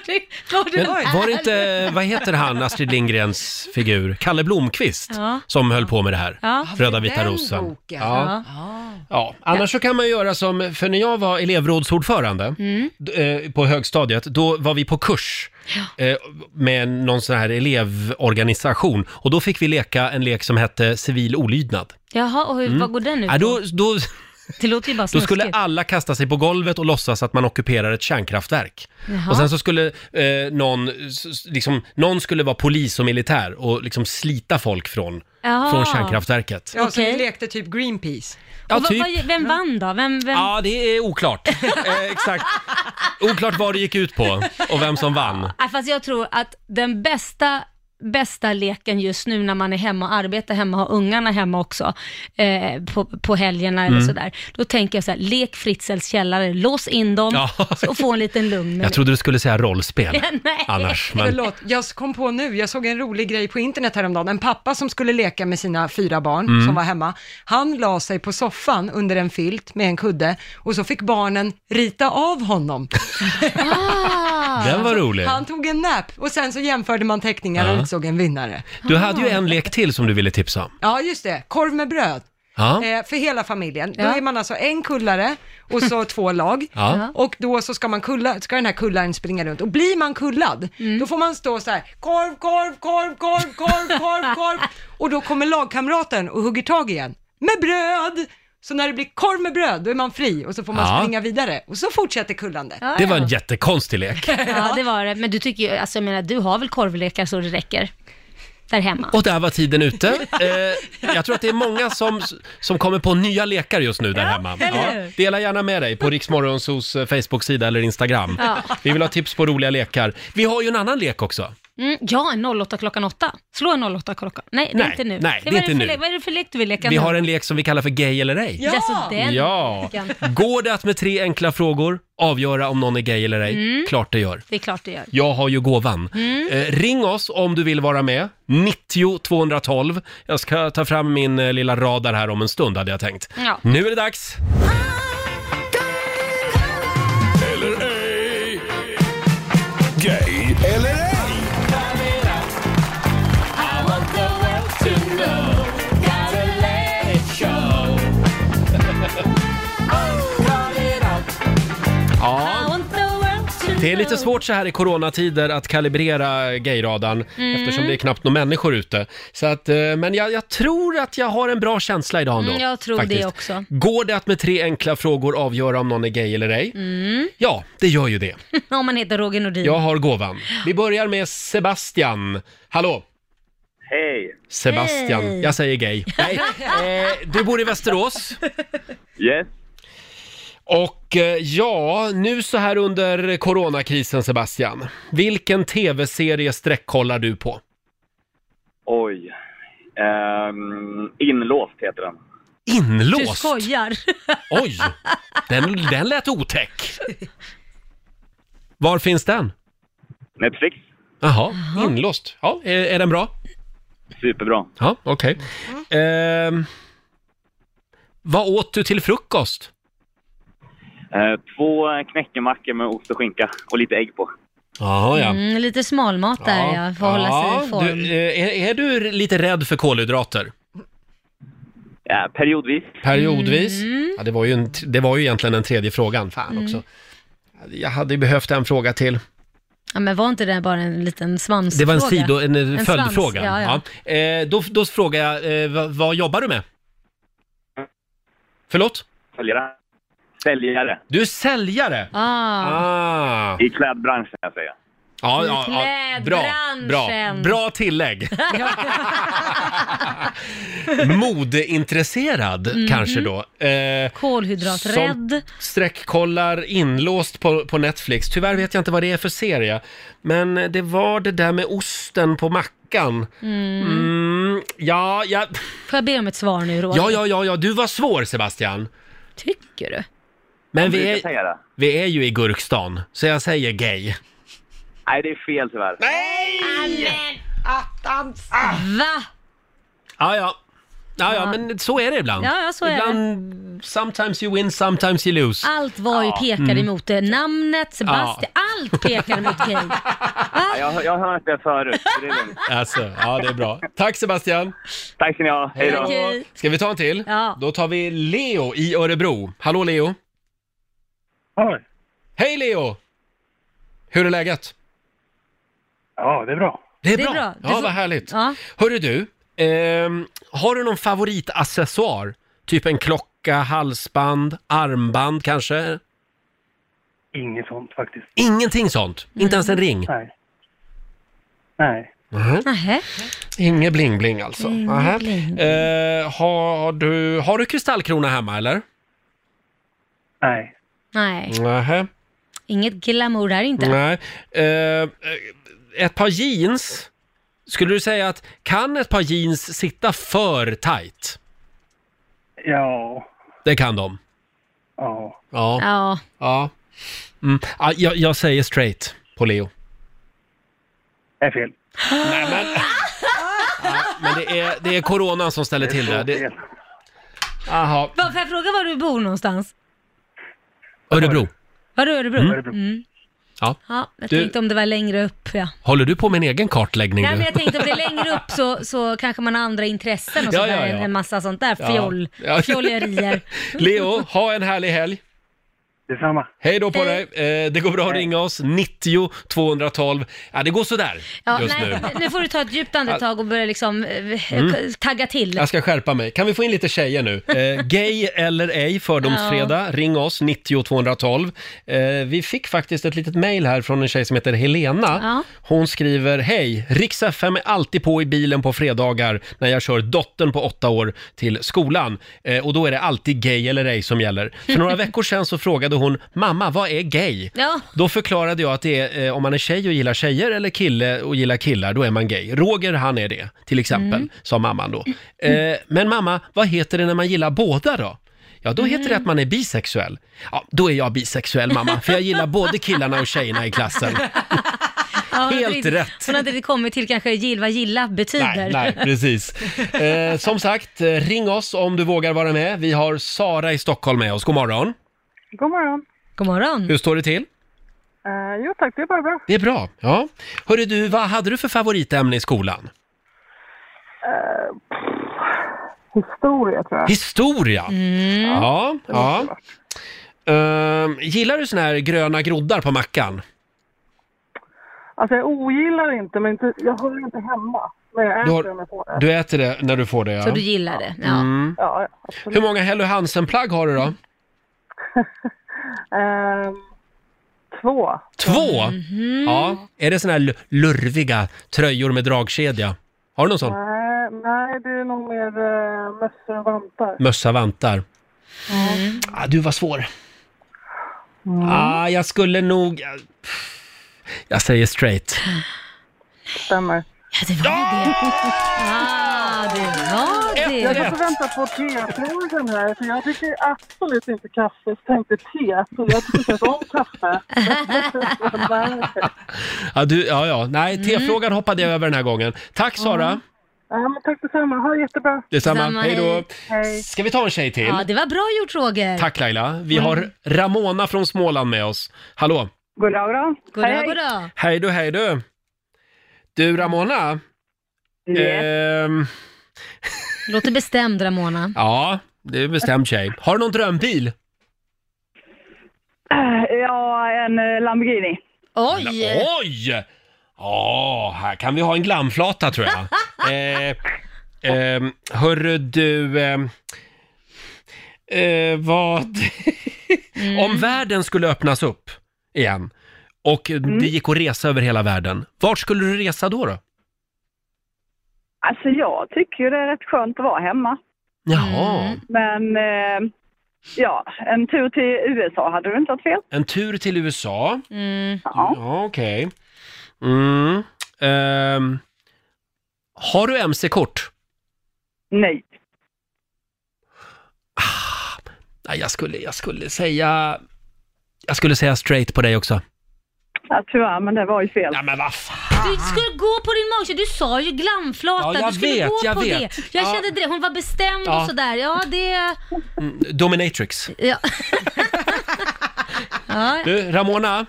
Speaker 2: det, vad det
Speaker 1: Men
Speaker 2: är.
Speaker 1: var det inte, vad heter han, Astrid Lindgrens figur, Kalle Blomqvist,
Speaker 2: Ja.
Speaker 1: som höll på med det här?
Speaker 2: Ja.
Speaker 1: Röda vita
Speaker 3: den
Speaker 1: rosen.
Speaker 3: boken.
Speaker 1: Ja. Ja. Annars så kan man göra som, för när jag var elevrådsordförande d- eh, på högstadiet, då var vi på kurs eh, med någon sån här elevorganisation och då fick vi leka en lek som hette civil olydnad.
Speaker 2: Jaha, och hur, vad går den ut
Speaker 1: Mm. Ja, då,
Speaker 2: på?
Speaker 1: då,
Speaker 2: Det låter ju bara
Speaker 1: då
Speaker 2: snuskigt.
Speaker 1: skulle alla kasta sig på golvet och låtsas att man ockuperar ett kärnkraftverk. Och sen så skulle eh, någon, s- s- liksom, någon skulle vara polis och militär och liksom slita folk från,
Speaker 2: Jaha.
Speaker 1: från kärnkraftverket.
Speaker 3: Ja, så vi
Speaker 2: Okej.
Speaker 3: lekte typ Greenpeace.
Speaker 1: Ja,
Speaker 2: Och vad-
Speaker 1: typ.
Speaker 2: vad- vem vann då? Vem, vem?
Speaker 1: Ja, det är
Speaker 2: [laughs]
Speaker 1: oklart. Eh, exakt. Oklart vad det gick ut på och vem som vann.
Speaker 2: Ja, Äh, fast jag tror att den bästa, bästa leken just nu när man är hemma och arbetar hemma och har ungarna hemma också eh, på, på helgerna
Speaker 1: Mm.
Speaker 2: eller sådär. Då tänker jag så här, lek Fritzels källare, lås in dem
Speaker 1: Ja.
Speaker 2: [laughs] och få en liten lugn
Speaker 1: Jag
Speaker 2: minut.
Speaker 1: trodde du skulle säga rollspel
Speaker 2: [laughs] Nej.
Speaker 1: annars. Men,
Speaker 3: Förlåt, jag kom på nu, jag såg en rolig grej på internet häromdagen. En pappa som skulle leka med sina fyra barn som var hemma, han la sig på soffan under en filt med en kudde och så fick barnen rita av honom.
Speaker 2: Ah.
Speaker 1: den var rolig.
Speaker 3: Han tog en nap och sen så jämförde man teckningar och utsåg en vinnare.
Speaker 1: Du hade ju en lek till som du ville tipsa om.
Speaker 3: Ja, just det, korv med bröd.
Speaker 1: Ja.
Speaker 3: Eh, för hela familjen. Då
Speaker 2: Ja.
Speaker 3: är man alltså en kullare och
Speaker 2: [laughs]
Speaker 3: så två lag.
Speaker 1: Ja.
Speaker 3: Och då så ska, man kulla, ska den här kullaren springa runt. Och blir man kullad,
Speaker 2: Mm.
Speaker 3: då får man stå så här, korv, korv, korv, korv, korv,
Speaker 2: [laughs]
Speaker 3: korv, korv. Och då kommer lagkamraten och hugger tag igen. Med bröd! Så när det blir korv med bröd, då är man fri och så får man
Speaker 1: Ja.
Speaker 3: springa vidare. Och så fortsätter kullandet.
Speaker 2: Ja,
Speaker 1: Det var en
Speaker 2: ja.
Speaker 1: jättekonstig lek.
Speaker 2: ja, det var det. Men du tycker ju, alltså jag menar, du har väl korvlekar så det räcker? Där hemma.
Speaker 1: Och där var
Speaker 2: [laughs]
Speaker 1: tiden ute. Eh, jag tror att det är många som, som kommer på nya lekar just nu där hemma.
Speaker 2: eller hur?
Speaker 1: Dela gärna med dig på Riksmorgonsos Facebook-sida eller Instagram.
Speaker 2: Ja.
Speaker 1: Vi vill ha tips på roliga lekar. Vi har ju en annan lek också.
Speaker 2: Mm, ja, en 08 klockan 8. Slå en 08 klockan... Nej, det är
Speaker 1: Nej,
Speaker 2: inte nu.
Speaker 1: nej, det är
Speaker 2: vad,
Speaker 1: inte
Speaker 2: för
Speaker 1: nu.
Speaker 2: le- vad är det för lek du vill leka
Speaker 1: Vi
Speaker 2: nu?
Speaker 1: har en lek som vi kallar för Gay eller ej.
Speaker 3: Ja!
Speaker 2: Alltså, den
Speaker 1: Ja.
Speaker 2: leken.
Speaker 1: Går det att med tre enkla frågor avgöra om någon är gay eller ej?
Speaker 2: Mm.
Speaker 1: Klart det gör.
Speaker 2: Det är klart det gör.
Speaker 1: Jag har ju gåvan.
Speaker 2: Mm.
Speaker 1: Eh, ring oss om du vill vara med. 90 212. Jag ska ta fram min eh, lilla radar här om en stund hade jag tänkt.
Speaker 2: Ja.
Speaker 1: Nu är det dags!
Speaker 4: Gay eller ej?
Speaker 2: I want the world to
Speaker 1: Det är lite
Speaker 2: know.
Speaker 1: svårt så här i coronatider att kalibrera gayradarn
Speaker 2: Mm.
Speaker 1: eftersom det är knappt några människor ute. Så att, eh, men jag, jag tror att jag har en bra känsla idag ändå.
Speaker 2: Mm, jag tror det också.
Speaker 1: Går det att med tre enkla frågor avgöra om någon är gay eller ej?
Speaker 2: Mm.
Speaker 1: Ja, det gör ju det.
Speaker 2: Om man heter Roger Nordin.
Speaker 1: Jag har gåvan. Vi börjar med Sebastian. Hallå!
Speaker 9: Hej!
Speaker 1: Sebastian.
Speaker 2: Hej.
Speaker 1: Jag
Speaker 2: [laughs]
Speaker 1: säger gay. Nej, eh, du bor i Västerås.
Speaker 9: Yes.
Speaker 1: Och eh, ja, nu så här under coronakrisen Sebastian. Vilken tv-serie sträckkollar du på?
Speaker 9: Oj. Ehm, inlåst heter den.
Speaker 2: Du
Speaker 1: Inlåst?
Speaker 2: skojar.
Speaker 1: Oj! Den, den lät otäck. Var finns den?
Speaker 9: Netflix.
Speaker 1: Jaha, inlåst. Ja, är, är den bra?
Speaker 9: Superbra.
Speaker 1: Ja, okej.
Speaker 2: Mm.
Speaker 1: Ehm, vad åt du till frukost?
Speaker 9: Eh, två knäckemackor med ost och skinka och lite ägg på.
Speaker 1: Jaha, ja.
Speaker 2: Mm, lite smalmat där ja, för att hålla sig i form.
Speaker 1: Du, eh, är, är du lite rädd för kolhydrater?
Speaker 9: Eh, periodvis.
Speaker 1: Periodvis.
Speaker 2: Mm.
Speaker 1: Ja, det, var ju en, det var ju egentligen den tredje frågan. Fan också. Jag hade ju behövt en fråga till.
Speaker 2: Ja, men var inte det bara en liten svans?
Speaker 1: Det var en, sido, en, eh,
Speaker 2: En
Speaker 1: följdfråga.
Speaker 2: svans, ja,
Speaker 1: Ja. Eh, då, då frågar jag, eh, vad, vad jobbar du med? Förlåt?
Speaker 9: Säljare. Säljare.
Speaker 1: Du är säljare?
Speaker 2: Ah.
Speaker 1: Ah.
Speaker 9: I klädbranschen kan jag säga.
Speaker 1: Ja, ja, ja. Bra, bra,
Speaker 2: Klädbranschen.
Speaker 1: bra
Speaker 2: [laughs]
Speaker 1: tillägg. [laughs] Modeintresserad
Speaker 2: Mhm.
Speaker 1: kanske då. Eh,
Speaker 2: Kolhydraträdd.
Speaker 1: Som sträckkollar inlåst på, på Netflix. Tyvärr vet jag inte vad det är för serie. Men det var det där med osten på mackan. Mm, ja, ja,
Speaker 2: Får jag be om ett svar nu Roger?
Speaker 1: ja, ja, ja, ja, du var svår Sebastian.
Speaker 2: Tycker du?
Speaker 1: Men
Speaker 9: Man
Speaker 1: vi
Speaker 9: brukar
Speaker 1: är,
Speaker 9: säga det.
Speaker 1: vi är ju i gurkstan, så jag säger gay.
Speaker 9: Nej, det är fel tyvärr.
Speaker 3: Attans!
Speaker 2: Va?
Speaker 1: Ja, ja. Ja, ja,
Speaker 2: Ja.
Speaker 1: men så är det ibland.
Speaker 2: Ja, ja, så är
Speaker 1: ibland, sometimes you win, sometimes you lose.
Speaker 2: Allt var ju
Speaker 1: Mm.
Speaker 2: pekade emot det. Namnet, Sebastian, allt pekade emot
Speaker 1: [laughs]
Speaker 2: gay. Va?
Speaker 9: Jag, jag har hört det förut, så det är lugnt.
Speaker 1: Alltså, ja, det är bra. Tack Sebastian!
Speaker 9: Tack ska ni ha. Hej då.
Speaker 2: Okej.
Speaker 1: Ska vi ta en till?
Speaker 2: Ja.
Speaker 1: Då tar vi Leo i Örebro. Hallå Leo!
Speaker 10: Oj.
Speaker 1: Hej Leo! Hur är läget?
Speaker 10: Ja, det är bra.
Speaker 1: Det är
Speaker 2: Det är
Speaker 1: bra.
Speaker 2: bra. Du
Speaker 1: Ja,
Speaker 2: får-
Speaker 1: vad härligt.
Speaker 2: Ja.
Speaker 1: Hörru du, ehm, har du någon favoritaccessoar? Typ en klocka, halsband, armband kanske?
Speaker 10: Inget sånt faktiskt.
Speaker 1: Ingenting sånt? Inte ens en ring?
Speaker 10: Nej. Nej.
Speaker 2: Nähä.
Speaker 1: Inge bling-bling alltså?
Speaker 2: Inge
Speaker 1: Nähä.
Speaker 2: bling-bling.
Speaker 1: Eh, har, du, har du kristallkrona hemma eller?
Speaker 10: Nej.
Speaker 2: Nej,
Speaker 1: Nähä.
Speaker 2: inget glamour där inte.
Speaker 1: Nej. Eh, ett par jeans, skulle du säga att kan ett par jeans sitta för tight?
Speaker 10: Ja.
Speaker 1: Det kan de.
Speaker 10: Ja.
Speaker 1: Ja.
Speaker 2: Ja,
Speaker 1: ja. Mm. ja jag, jag säger straight på Leo.
Speaker 10: Det är fel.
Speaker 1: Men det är, det är coronan som ställer till det. det
Speaker 10: Fel.
Speaker 1: aha.
Speaker 2: Va, får jag fråga var du bor någonstans?
Speaker 1: Örebro,
Speaker 2: Var du i Örebro?
Speaker 10: Örebro.
Speaker 2: Mm.
Speaker 1: Ja.
Speaker 2: ja, jag
Speaker 1: Du-
Speaker 2: tänkte om det var längre upp ja.
Speaker 1: håller du på med en egen kartläggning
Speaker 2: Nej
Speaker 1: nu?
Speaker 2: men jag tänkte om det är längre upp så, så kanske man har andra intressen och
Speaker 1: Ja,
Speaker 2: sådär,
Speaker 1: ja, ja.
Speaker 2: en massa sånt där
Speaker 1: Ja.
Speaker 2: fjoll,
Speaker 1: Ja.
Speaker 2: fjollerier.
Speaker 1: Leo, ha en härlig helg.
Speaker 10: Detsamma.
Speaker 1: Hej då på
Speaker 2: Hej.
Speaker 1: dig. Eh, det går bra att ringa oss, 90 212. Ja, det går sådär
Speaker 2: Ja,
Speaker 1: just
Speaker 2: nej,
Speaker 1: nu. Mm.
Speaker 2: nu. får du ta ett djupt andetag och börja liksom eh, tagga till.
Speaker 1: Jag ska skärpa mig. Kan vi få in lite tjejer nu? Eh, gay eller ej, Fördomsfredag. Ring oss, 90 212. Eh, vi fick faktiskt ett litet mejl här från en tjej som heter Helena.
Speaker 2: Ja.
Speaker 1: Hon skriver, hej, Rix FM är alltid på i bilen på fredagar när jag kör dottern på åtta år till skolan. Eh, och då är det alltid gay eller ej som gäller. För några veckor sedan så frågade hon, mamma vad är gay?
Speaker 2: Ja.
Speaker 1: Då förklarade jag att det är eh, om man är tjej och gillar tjejer eller kille och gillar killar, då är man gay. Roger han är det, till exempel,
Speaker 2: Mm.
Speaker 1: sa mamman då. Eh, men mamma, vad heter det när man gillar båda då? Ja, då heter det att man är bisexuell. Ja, då är jag bisexuell mamma, för jag gillar både killarna och tjejerna i klassen.
Speaker 2: Ja, hon hade
Speaker 1: Helt
Speaker 2: inte-
Speaker 1: rätt.
Speaker 2: Hon hade inte kommit till kanske gill, vad gilla betyder.
Speaker 1: Nej, nej, precis. Eh, som sagt, eh, ring oss om du vågar vara med. Vi har Sara i Stockholm med oss. God morgon.
Speaker 7: God morgon.
Speaker 2: God morgon.
Speaker 1: Hur står det till?
Speaker 7: Eh, jo tack, det är bara bra.
Speaker 1: Det är bra. Ja. Hörru du, vad hade du för favoritämne i skolan?
Speaker 7: Eh, pff, historia tror jag.
Speaker 1: Historia. Ja, ja. Ehm, gillar du såna här gröna groddar på mackan?
Speaker 7: Alltså jag ogillar inte, men inte, jag håller inte hemma. Men jag
Speaker 1: Du
Speaker 7: äter
Speaker 1: har-
Speaker 7: den jag får det.
Speaker 1: Du äter det när du får det, ja.
Speaker 2: Så du gillar det? Ja.
Speaker 1: Mm.
Speaker 7: Ja,
Speaker 1: Hur många Hello Hansen-plagg har du då?
Speaker 7: Ehm, två.
Speaker 1: Två? Ja. Är det såna här l- lurviga tröjor med dragkedja? Har du någon sån?
Speaker 7: Nej, nej, det är nog mer eh, mössor och vantar.
Speaker 1: Mössa, vantar? Ah, du var svår. Ah, jag skulle nog... Jag säger straight.
Speaker 7: Stämmer.
Speaker 2: Ja, det var det. Ah, det var det.
Speaker 7: Jag får vänta på tefrågan här, för jag dricker absolut inte kaffe. Så tänkte te, så jag tycker inte om kaffe.
Speaker 1: Ja, du, ja, ja. Nej, T-frågan hoppade jag över den här gången. Tack Sara!
Speaker 7: ja, men tack detsamma. Ha det jättebra.
Speaker 1: Detsamma. Hej då!
Speaker 7: Hej.
Speaker 1: Ska vi ta en tjej till?
Speaker 2: Ja, det var bra gjort Roger.
Speaker 1: Tack Laila! Vi
Speaker 2: Mm.
Speaker 1: har Ramona från Småland med oss. Hallå!
Speaker 7: Goddag, goddag.
Speaker 2: Goddag,
Speaker 7: Hej.
Speaker 2: goddag.
Speaker 1: Hej du, hej du! Du Ramona?
Speaker 11: Eh.
Speaker 1: Ehm,
Speaker 2: Låter bestämd Ramona.
Speaker 1: ja, det är bestämt tjej. Har du någon drömbil?
Speaker 7: Eh, Ja, en eh, Lamborghini.
Speaker 2: Oj!
Speaker 1: Oj! Ja, här kan vi ha en glamflata
Speaker 2: [laughs]
Speaker 1: tror jag. eh, ehm, hörru du, ehm, eh, vad...
Speaker 2: Mm.
Speaker 1: Om världen skulle öppnas upp igen och
Speaker 2: Mm.
Speaker 1: det gick att resa över hela världen, vart skulle du resa då? då?
Speaker 7: Alltså jag tycker ju det är rätt skönt att vara hemma.
Speaker 1: Jaha,
Speaker 2: Mm.
Speaker 7: Men eh, ja, en tur till USA hade du inte varit fel.
Speaker 1: en tur till USA.
Speaker 2: Mm.
Speaker 7: Ja.
Speaker 1: Ja, okej. Mm. Ehm, har du mc-kort?
Speaker 7: Nej.
Speaker 1: Nej, jag skulle, jag skulle säga... Jag skulle säga straight på dig också.
Speaker 7: Ja, tyvärr, men det var ju fel.
Speaker 1: Nej, men vad fan!
Speaker 2: Du skulle gå på din magkänsla, du sa ju glamflata,
Speaker 1: Ja, jag
Speaker 2: du skulle
Speaker 1: vet,
Speaker 2: gå
Speaker 1: jag
Speaker 2: på
Speaker 1: vet.
Speaker 2: det. Jag
Speaker 1: Ja.
Speaker 2: kände det, hon var bestämd
Speaker 1: Ja.
Speaker 2: och sådär. Ja, det...
Speaker 1: Mm, Dominatrix.
Speaker 2: Ja.
Speaker 1: [laughs]
Speaker 2: ja.
Speaker 1: Du, Ramona,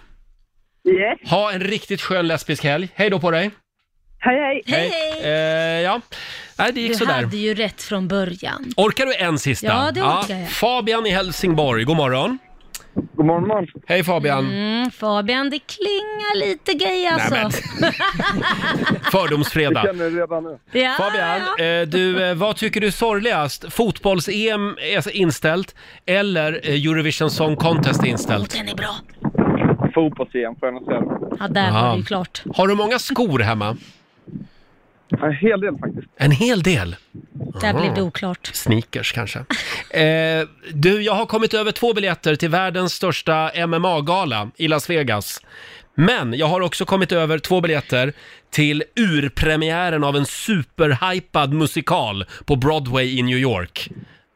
Speaker 7: Yes.
Speaker 1: ha en riktigt skön lesbisk helg. Hej då på dig!
Speaker 7: Hej, hej.
Speaker 2: Hej, hej.
Speaker 1: Eh, ja, Nej, det gick
Speaker 2: Du
Speaker 1: sådär.
Speaker 2: hade ju rätt från början.
Speaker 1: Orkar du en sista?
Speaker 2: Ja, det orkar jag.
Speaker 1: Fabian i Helsingborg, god morgon.
Speaker 10: God morgon, morgon.
Speaker 1: Hej Fabian.
Speaker 2: Mm, Fabian, det klingar lite gay alltså.
Speaker 1: men. Fördomsfredag.
Speaker 10: känner det redan nu.
Speaker 2: Ja, ja.
Speaker 1: Fabian, eh, du, eh, vad tycker du är sorgligast? Fotbolls-EM är inställt eller eh, Eurovision Song Contest är
Speaker 2: Och
Speaker 1: inställt?
Speaker 2: den är bra.
Speaker 10: Fotbolls-EM får jag nog säga.
Speaker 2: Ja, där
Speaker 1: Aha.
Speaker 2: var det ju klart.
Speaker 1: Har du många skor hemma?
Speaker 10: En hel del faktiskt.
Speaker 1: En hel del.
Speaker 2: Där blev det oklart.
Speaker 1: Sneakers kanske. Eh, du, jag har kommit över två biljetter till världens största MMA-gala i Las Vegas. Men jag har också kommit över två biljetter till urpremiären av en superhypad musikal på Broadway i New York.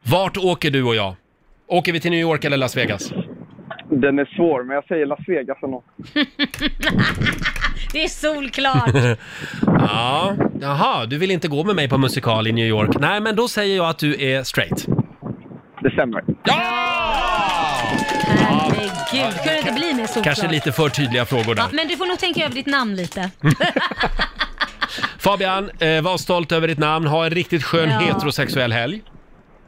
Speaker 1: Vart åker du och jag? Åker vi till New York eller Las Vegas?
Speaker 10: Den är svår, men jag säger Las Vegas ändå.
Speaker 2: Det är solklart.
Speaker 1: Ja, jaha, du vill inte gå med mig på musikal i New York. Nej, men då säger jag att du är straight.
Speaker 10: Det stämmer.
Speaker 1: Ja!
Speaker 2: Herregud, kunde det inte bli mer solklart?
Speaker 1: Kanske lite för tydliga frågor där.
Speaker 2: Ja, men du får nog tänka över ditt namn lite.
Speaker 1: Fabian, eh, var stolt över ditt namn. Ha en riktigt skön
Speaker 2: Ja.
Speaker 1: heterosexuell helg.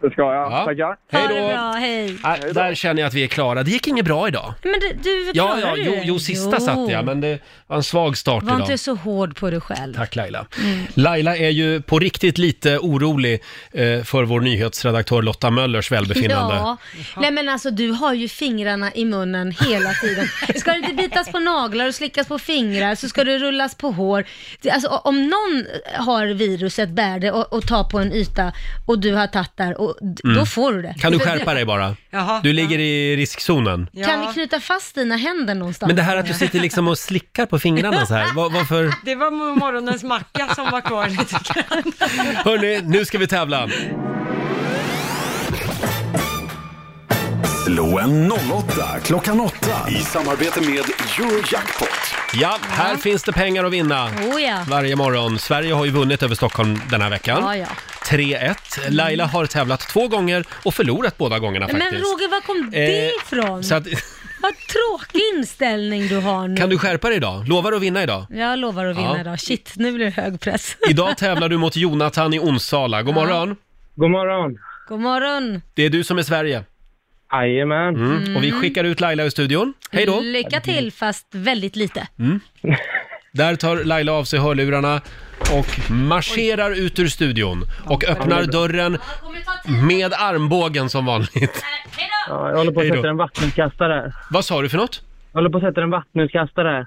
Speaker 10: Det ska jag.
Speaker 1: Ja.
Speaker 10: Tackar.
Speaker 1: Hej
Speaker 2: Ha det
Speaker 1: då!
Speaker 2: bra, hej.
Speaker 1: Ah, där känner jag att vi är klara. Det gick inget bra idag.
Speaker 2: Men du, du
Speaker 1: Ja,
Speaker 2: klarar
Speaker 1: ja,
Speaker 2: du
Speaker 1: jo,
Speaker 2: det?
Speaker 1: jo sista
Speaker 2: Jo.
Speaker 1: satt jag, men det, var en svag start
Speaker 2: Var
Speaker 1: idag.
Speaker 2: inte Mm. så hård på dig själv.
Speaker 1: Tack Laila. Laila är ju på riktigt lite orolig eh, för vår nyhetsredaktör Lotta Möllers välbefinnande.
Speaker 2: Ja. Nej men alltså du har ju fingrarna i munnen hela tiden. Ska det inte bitas på naglar och slickas på fingrar så ska det rullas på hår. Det- Alltså o- om någon har viruset, bär det och, och tar på en yta och du har tagit där, och, d-
Speaker 1: Mm.
Speaker 2: då får du det.
Speaker 1: Kan du skärpa dig bara?
Speaker 2: [laughs] Jaha.
Speaker 1: du ligger i riskzonen.
Speaker 2: Kan vi knyta fast dina händer någonstans?
Speaker 1: Men det här att du sitter liksom och slickar på fingrarna
Speaker 2: [laughs]
Speaker 1: så här, vad- varför?
Speaker 3: Det var morgonens macka som var kvar lite grann.
Speaker 2: [laughs]
Speaker 1: Hörni, nu ska vi tävla.
Speaker 4: Slå en 08 klockan 8.
Speaker 1: I samarbete med Eurojackpot. Ja, här finns det pengar att vinna.
Speaker 2: Oh, ja.
Speaker 1: Varje morgon. Sverige har ju vunnit över Stockholm den här veckan.
Speaker 2: Ja, ja.
Speaker 1: 3-1. Laila har tävlat två gånger och förlorat båda gångerna
Speaker 2: Men
Speaker 1: faktiskt.
Speaker 2: Roger, var kom det
Speaker 1: Eh,
Speaker 2: ifrån?
Speaker 1: Så att,
Speaker 2: Vad tråkig inställning du har nu.
Speaker 1: kan du skärpa dig idag? Lovar du att vinna idag?
Speaker 2: Jag lovar att vinna
Speaker 1: Ja.
Speaker 2: idag. Shit, nu blir det hög press. [laughs]
Speaker 1: Idag tävlar du mot Jonathan i Onsala. God
Speaker 2: Ja.
Speaker 1: morgon! God morgon!
Speaker 2: God morgon.
Speaker 1: Det är du som är Sverige. Jajamän. Mm. Och vi
Speaker 2: Mm.
Speaker 1: skickar ut Laila ur studion. Hej då!
Speaker 2: Lycka till, fast väldigt lite.
Speaker 1: Mm. Där tar Laila av sig hörlurarna och marscherar ut ur studion och öppnar dörren med armbågen som vanligt.
Speaker 12: Ja, jag håller på att
Speaker 1: Hej då.
Speaker 12: sätta en vattenkastare här.
Speaker 1: Vad sa du för något?
Speaker 12: Jag håller på att sätta en vattenutkastare här.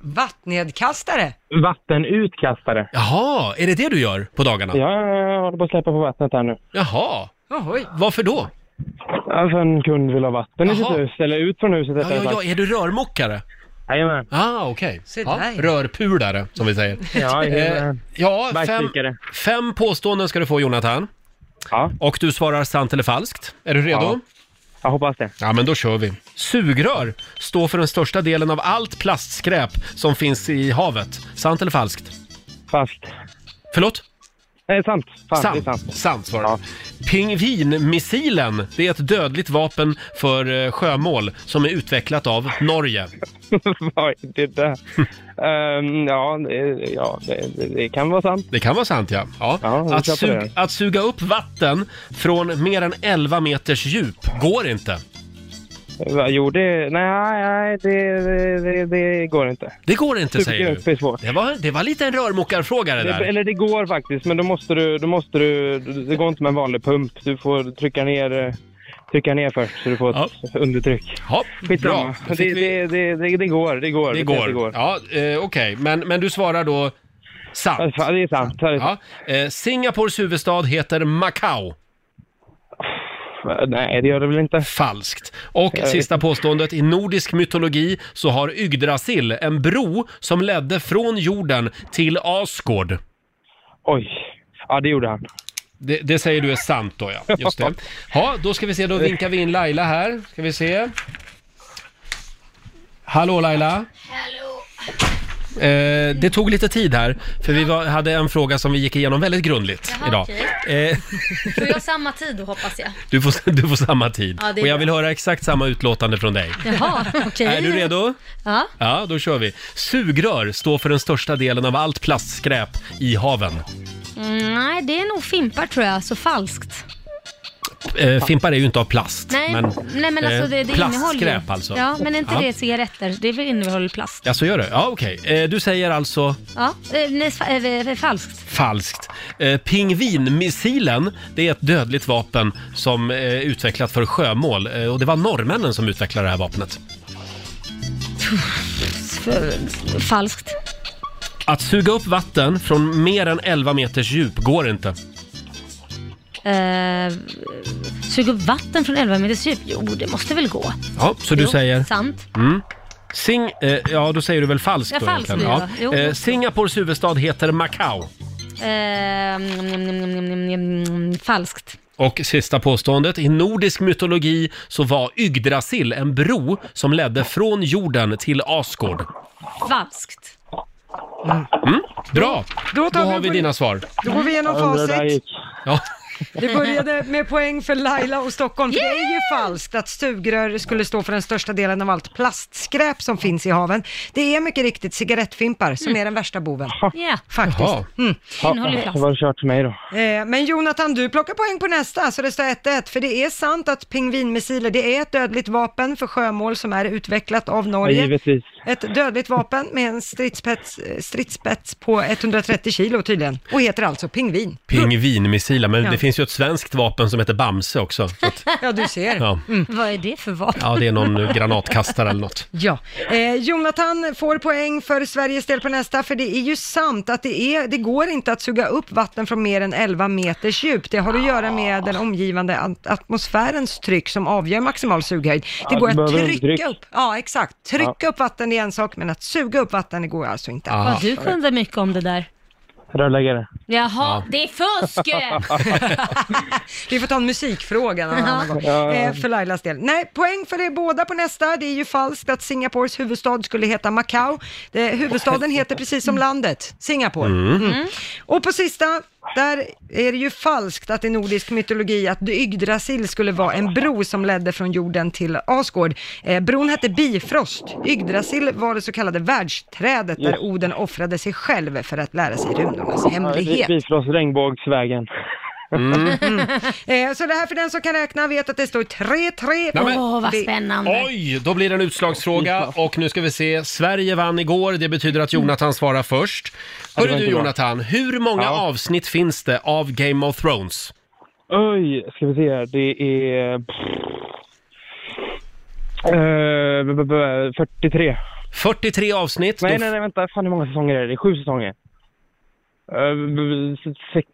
Speaker 3: Vattnedkastare.
Speaker 12: Vattenutkastare.
Speaker 1: Jaha, är det det du gör på dagarna?
Speaker 12: Ja, jag håller på att släppa på vattnet här nu.
Speaker 1: Jaha,
Speaker 3: Ohoj.
Speaker 1: varför då?
Speaker 12: Ja, för en kund vill ha vatten i
Speaker 1: Jaha.
Speaker 12: sitt hus, eller ut från huset
Speaker 1: Ja,
Speaker 12: rättare
Speaker 1: ja, ja,
Speaker 12: sagt.
Speaker 1: är du rörmokare?
Speaker 12: Jajamän.
Speaker 1: Ah, okej.
Speaker 12: Se
Speaker 1: Ja,
Speaker 12: där.
Speaker 1: rörpulare, som vi säger. [laughs]
Speaker 12: Ja,
Speaker 1: Eh,
Speaker 12: jajamän.
Speaker 1: ja fem,
Speaker 12: Bajsdykare.
Speaker 1: fem påståenden ska du få, Jonathan. Ja. Och du svarar sant eller falskt. Är du redo?
Speaker 12: Ja. Jag hoppas det.
Speaker 1: Ja, men då kör vi. Sugrör står för den största delen av allt plastskräp som finns i havet. Sant eller falskt? Falskt. Förlåt? Nej, sant.
Speaker 12: Eh, Fan, det är
Speaker 1: sant. sant. svarar ja. Pingvinmissilen, det är ett dödligt vapen för eh, sjömål som är utvecklat av Norge.
Speaker 12: [laughs] Vad är det
Speaker 1: [laughs]
Speaker 12: där? Ehm, ja, det, ja det, det- det kan vara sant.
Speaker 1: Det kan vara sant, ja. ja.
Speaker 12: vi
Speaker 1: att,
Speaker 12: köper
Speaker 1: sug-
Speaker 12: det.
Speaker 1: att suga upp vatten från mer än 11 meters djup går inte.
Speaker 12: Va, Jo, det... Nej, nej, det, det, det, det går inte.
Speaker 1: Det går inte,
Speaker 12: Suga
Speaker 1: säger
Speaker 12: upp
Speaker 1: du. Det var, det var lite en rörmokarfråga det där.
Speaker 12: Det, eller det går faktiskt, men då måste du... Då måste du det går inte med en vanlig pump. Du får trycka ner, eh, trycka ner först så du får ett undertryck.
Speaker 1: Ja,
Speaker 12: Skitsamma.
Speaker 1: bra. Då
Speaker 12: Det,
Speaker 1: fick
Speaker 12: det, det, det, det går, det går.
Speaker 1: Det
Speaker 12: Vi säger
Speaker 1: går. Ja, eh, okej. Men, men du svarar då sant?
Speaker 12: Ja, det är sant. Det är sant.
Speaker 1: Ja. Eh, Singapores huvudstad heter Macau.
Speaker 12: Nej, det gör det väl inte.
Speaker 1: Falskt. Och
Speaker 12: Jag vet
Speaker 1: sista påståendet. I nordisk mytologi så har Yggdrasil en bro som ledde från jorden till Asgård.
Speaker 12: Oj. Ja, det gjorde han.
Speaker 1: Det, det säger du är sant då, ja. Just det. Ja, då ska vi se. Då vinkar vi in Laila här. Ska vi se. Hallå Laila. Eh, det tog lite tid här, för vi var, hade en fråga som vi gick igenom väldigt grundligt
Speaker 2: Jaha,
Speaker 1: idag.
Speaker 2: okej.
Speaker 1: Eh,
Speaker 2: [laughs] Får jag samma tid då hoppas jag?
Speaker 1: du, får, [laughs] du får samma tid.
Speaker 2: Ja, det är
Speaker 1: Och jag
Speaker 2: bra.
Speaker 1: vill höra exakt samma utlåtande från dig.
Speaker 2: Jaha, okej.
Speaker 1: Är du redo?
Speaker 2: Ja.
Speaker 1: Ja, då kör vi. Sugrör står för den största delen av allt plastskräp i haven.
Speaker 2: Mm, nej, det är nog fimpar tror jag, så falskt.
Speaker 1: Eh, fimpar är ju inte av plast,
Speaker 2: Nej,
Speaker 1: men,
Speaker 2: nej men alltså
Speaker 1: eh,
Speaker 2: det, det innehåller ju-
Speaker 1: plastskräp alltså.
Speaker 2: Ja, men är inte
Speaker 1: Ja.
Speaker 2: det cigaretter? Det väl innehåller plast.
Speaker 1: Ja, så gör det. Ja, okej. Eh, du säger alltså
Speaker 2: Ja, eh, nej, fa- eh, eh, falskt.
Speaker 1: falskt. Eh, pingvinmissilen, det är ett dödligt vapen som eh, är utvecklat för sjömål. Eh, och det var norrmännen som utvecklade det här vapnet.
Speaker 2: Falskt.
Speaker 1: Att suga upp vatten från mer än 11 meters djup går inte.
Speaker 2: Eh, sug upp vatten från 11 meters djup? Jo, det måste väl gå.
Speaker 1: Ja, så du
Speaker 2: jo,
Speaker 1: säger?
Speaker 2: Sant.
Speaker 1: Mm. Sing, eh, ja, då säger du väl falskt
Speaker 2: Ja,
Speaker 1: då
Speaker 2: falskt
Speaker 1: egentligen?
Speaker 2: blir det då. Jo.
Speaker 1: Eh, Singapores huvudstad heter Macau.
Speaker 2: Eh, mm, mm, mm, mm, mm, falskt.
Speaker 1: Och sista påståendet. I nordisk mytologi så var Yggdrasil en bro som ledde från jorden till Asgård.
Speaker 2: Falskt.
Speaker 1: Mm, bra! Då,
Speaker 3: Då tar vi
Speaker 1: har vi
Speaker 3: på-
Speaker 1: dina svar.
Speaker 3: Då går vi igenom facit.
Speaker 1: Ja.
Speaker 3: Det började med poäng för Laila och Stockholm. För Det är ju falskt att sugrör skulle stå för den största delen av allt plastskräp som finns i haven. Det är mycket riktigt cigarettfimpar som är den värsta boven.
Speaker 2: Ja.
Speaker 3: Faktiskt.
Speaker 12: Jaha.
Speaker 3: Mm.
Speaker 12: Ja, det var det kört för mig då.
Speaker 3: Eh, Men Jonathan, du plockar poäng på nästa, så det står 1-1. För det är sant att pingvinmissiler, det är ett dödligt vapen för sjömål som är utvecklat av
Speaker 12: Ja,
Speaker 3: Norge.
Speaker 12: givetvis.
Speaker 3: Ett dödligt vapen med en stridspets, eh, stridsspets på 130 kilo tydligen och heter alltså pingvin.
Speaker 1: Pingvinmissiler, men
Speaker 3: Ja.
Speaker 1: det finns ju ett svenskt vapen som heter Bamse också. Så att,
Speaker 3: Ja, du ser.
Speaker 1: Ja.
Speaker 2: Vad är det för vapen?
Speaker 1: ja, det är någon granatkastare eller något.
Speaker 3: Ja, eh, Jonathan får poäng för Sveriges del på nästa, för det är ju sant att det, är, det går inte att suga upp vatten från mer än 11 meters djup. Det har att göra med den omgivande at- atmosfärens tryck som avgör maximal sughöjd. Det
Speaker 5: Ja,
Speaker 3: går
Speaker 5: du
Speaker 3: att
Speaker 5: behöver
Speaker 3: trycka
Speaker 5: dryck.
Speaker 3: upp, ja exakt, trycka upp vatten är en sak, men att suga upp vatten det går alltså inte.
Speaker 2: Ja, du kunde mycket om det där.
Speaker 12: Rörläggare.
Speaker 2: Jaha,
Speaker 12: Ja.
Speaker 2: det är
Speaker 1: [laughs]
Speaker 2: fusk!
Speaker 3: Vi får ta en musikfråga någon annan gång.
Speaker 12: Ja.
Speaker 3: Eh, för Lailas del. Nej, poäng för er båda på nästa. Det är ju falskt att Singapores huvudstad skulle heta Macau. Det, huvudstaden heter precis som landet, Singapore.
Speaker 5: Mm.
Speaker 3: Mm. Och på sista, där är det ju falskt att i nordisk mytologi att Yggdrasil skulle vara en bro som ledde från jorden till Asgård. Eh, bron hette Bifrost. Yggdrasil var det så kallade världsträdet där
Speaker 12: Yes.
Speaker 3: Oden offrade sig själv för att lära sig runornas hemlighet.
Speaker 12: Bifrost regnbågsvägen.
Speaker 3: Mm. Eh, så det här för den som kan räkna vet att det står 3-3.
Speaker 1: Nej, men-
Speaker 2: Åh, vad
Speaker 3: Det-
Speaker 2: spännande.
Speaker 1: Oj, då blir det en utslagsfråga och nu ska vi se. Sverige vann igår, det betyder att Jonathan svarar först.
Speaker 12: Ja, det var
Speaker 1: Hörru du
Speaker 12: inte bra.
Speaker 1: Jonathan, hur många
Speaker 12: Ja.
Speaker 1: avsnitt finns det av Game of Thrones?
Speaker 12: Oj, ska vi se här. Det är... Eh, b- b- b- 43.
Speaker 1: 43 avsnitt?
Speaker 12: Nej,
Speaker 1: Då-
Speaker 12: nej, nej, vänta. Fan, hur många säsonger är det? Det är sju säsonger. Eh, b- b- sex,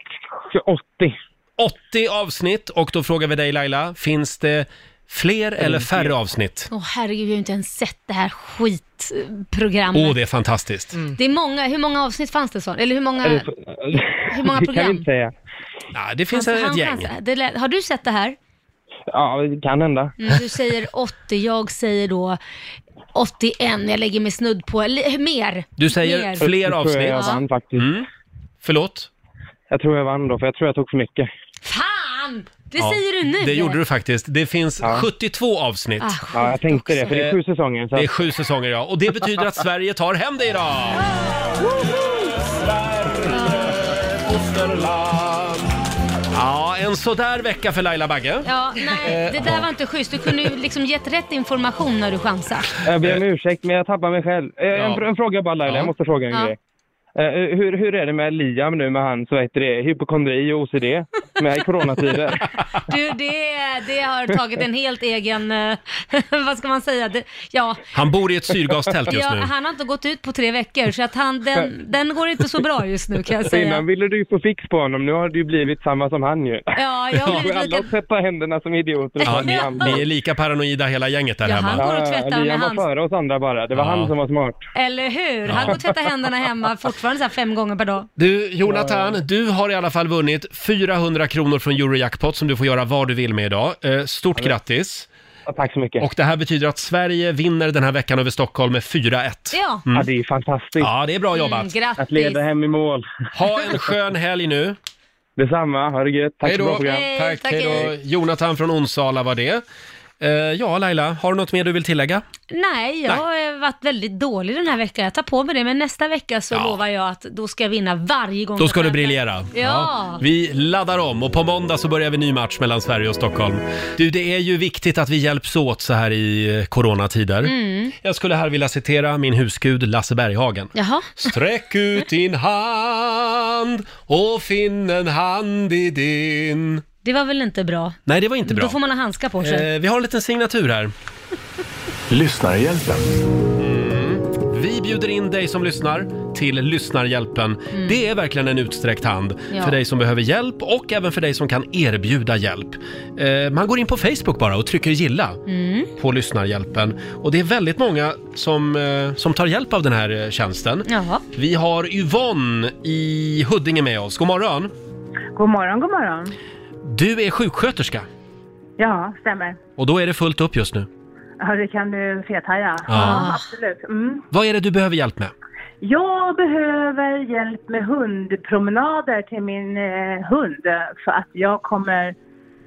Speaker 12: 80.
Speaker 1: 80 avsnitt och då frågar vi dig Laila, finns det fler eller färre avsnitt?
Speaker 2: Åh herregud, jag har ju inte ens sett det här skitprogrammet.
Speaker 1: Åh, det är fantastiskt.
Speaker 2: Det är många, hur många avsnitt fanns det så? Eller hur många, Alltså,
Speaker 1: Är det-
Speaker 2: hur många
Speaker 12: Det kan vi
Speaker 2: program?
Speaker 12: inte säga.
Speaker 1: Ja, det finns
Speaker 2: Han-
Speaker 1: ett
Speaker 2: Alltså, han
Speaker 1: gäng.
Speaker 2: chansar. Det lät, har du sett det här?
Speaker 12: Ja, det kan hända.
Speaker 2: Mm, Du
Speaker 1: [laughs]
Speaker 2: säger 80, jag säger då 81, jag lägger mig snudd på, eller, mer.
Speaker 1: Du säger
Speaker 2: mer.
Speaker 1: fler
Speaker 12: Jag tror
Speaker 1: avsnitt. Mm.
Speaker 12: jag vann faktiskt.
Speaker 1: Förlåt?
Speaker 12: Jag tror jag vann då, för jag tror jag tog för mycket.
Speaker 2: Fan! Det
Speaker 1: Ja,
Speaker 2: säger du nu!
Speaker 1: Det gjorde du faktiskt. Det finns 72 avsnitt.
Speaker 2: Ah,
Speaker 12: Ja, jag tänkte det, för det är sju
Speaker 1: Eh,
Speaker 12: säsonger. Så
Speaker 1: Det är sju säsonger ja, och det betyder att Sverige tar hem det idag! Ja, en sådär vecka för Laila Bagge.
Speaker 2: Ja,
Speaker 12: Eh,
Speaker 2: nej, det där var inte schysst. Du kunde ju liksom gett rätt information när du chansade.
Speaker 12: Jag ber om ursäkt, men jag tappar mig själv. Eh, En,
Speaker 2: Ja.
Speaker 12: fr- en fråga bara Laila, jag måste fråga en
Speaker 2: Ja.
Speaker 12: grej. Eh, hur, hur är det med Liam nu med hans, vad heter det, hypokondri och OCD? Med i
Speaker 2: [laughs]
Speaker 12: coronatider?
Speaker 2: Du, det, det har tagit en helt egen, eh, [laughs] vad ska man säga, det, ja.
Speaker 1: Han bor i ett syrgastält just
Speaker 2: ja,
Speaker 1: nu.
Speaker 2: Han har inte gått ut på tre veckor, så att han, den, den går inte så bra just nu kan jag
Speaker 12: Innan
Speaker 2: säga.
Speaker 12: ville du ju få fix på honom, nu har du ju blivit samma som han ju.
Speaker 2: Ja, jag har blivit
Speaker 12: Alla
Speaker 2: lika...
Speaker 12: tvätta händerna som idioter.
Speaker 1: Ja, ni, ni är lika paranoida hela gänget där
Speaker 2: Ja,
Speaker 1: hemma.
Speaker 2: han går och tvättar med
Speaker 12: Liam var
Speaker 2: hans-
Speaker 12: före oss andra bara, det var
Speaker 1: Ja.
Speaker 12: han som var smart.
Speaker 2: Eller hur?
Speaker 1: Ja.
Speaker 2: Han går och tvättar händerna hemma fortfarande så här fem gånger per dag.
Speaker 1: Du, Jonathan, du har i alla fall vunnit 400 kronor från Eurojackpot som du får göra vad du vill med idag. Eh, Stort grattis!
Speaker 12: tack så mycket.
Speaker 1: Och det här betyder att Sverige vinner den här veckan över Stockholm med 4-1.
Speaker 2: Ja.
Speaker 1: Mm.
Speaker 12: Ja, det är fantastiskt.
Speaker 1: Ja, det är bra jobbat.
Speaker 2: Mm, grattis.
Speaker 12: Att leda hem i mål.
Speaker 1: Ha en skön helg nu.
Speaker 12: Detsamma, ha det gött. Tack
Speaker 1: Hej
Speaker 12: för
Speaker 1: då.
Speaker 12: bra program.
Speaker 2: Hej,
Speaker 1: Tack,
Speaker 2: tack,
Speaker 1: hej då.
Speaker 2: hej.
Speaker 1: Jonathan från Onsala var det. Eh, ja, Laila, har du något mer du vill tillägga?
Speaker 2: Nej, jag har varit väldigt dålig den här veckan. Jag tar på mig det, men nästa vecka så lovar jag att då ska jag vinna varje gång.
Speaker 1: Då ska
Speaker 2: jag
Speaker 1: du
Speaker 2: tävlar.
Speaker 1: briljera.
Speaker 2: Ja.
Speaker 1: Vi laddar om och på måndag så börjar vi ny match mellan Sverige och Stockholm. Du, det är ju viktigt att vi hjälps åt så här i eh, coronatider.
Speaker 2: Mm.
Speaker 1: Jag skulle här vilja citera min husgud Lasse Berghagen.
Speaker 2: Jaha.
Speaker 1: Sträck ut din hand och finn en hand i din.
Speaker 2: Det var väl inte bra?
Speaker 1: Nej, det var inte bra.
Speaker 2: Då får man ha handskar på sig.
Speaker 1: Eh, vi har en liten signatur här. Lyssnarhjälpen. Mm. Vi bjuder in dig som lyssnar till Lyssnarhjälpen. Det är verkligen en utsträckt hand
Speaker 5: Ja.
Speaker 1: för dig som behöver hjälp och även för dig som kan erbjuda hjälp. Eh, man går in på Facebook bara och trycker gilla
Speaker 5: Mm.
Speaker 1: på Lyssnarhjälpen. Och det är väldigt många som, eh, som tar hjälp av den här eh, tjänsten.
Speaker 2: Jaha.
Speaker 1: Vi har Yvonne i Huddinge med oss. God morgon!
Speaker 11: God morgon, god morgon.
Speaker 1: Du är sjuksköterska
Speaker 11: Ja, stämmer.
Speaker 1: och då är det fullt upp just nu.
Speaker 11: Ja, det kan du fethaja.
Speaker 1: Ja.
Speaker 11: absolut. Mm.
Speaker 1: Vad är det du behöver hjälp med?
Speaker 11: Jag behöver hjälp med hundpromenader till min eh, hund för att jag kommer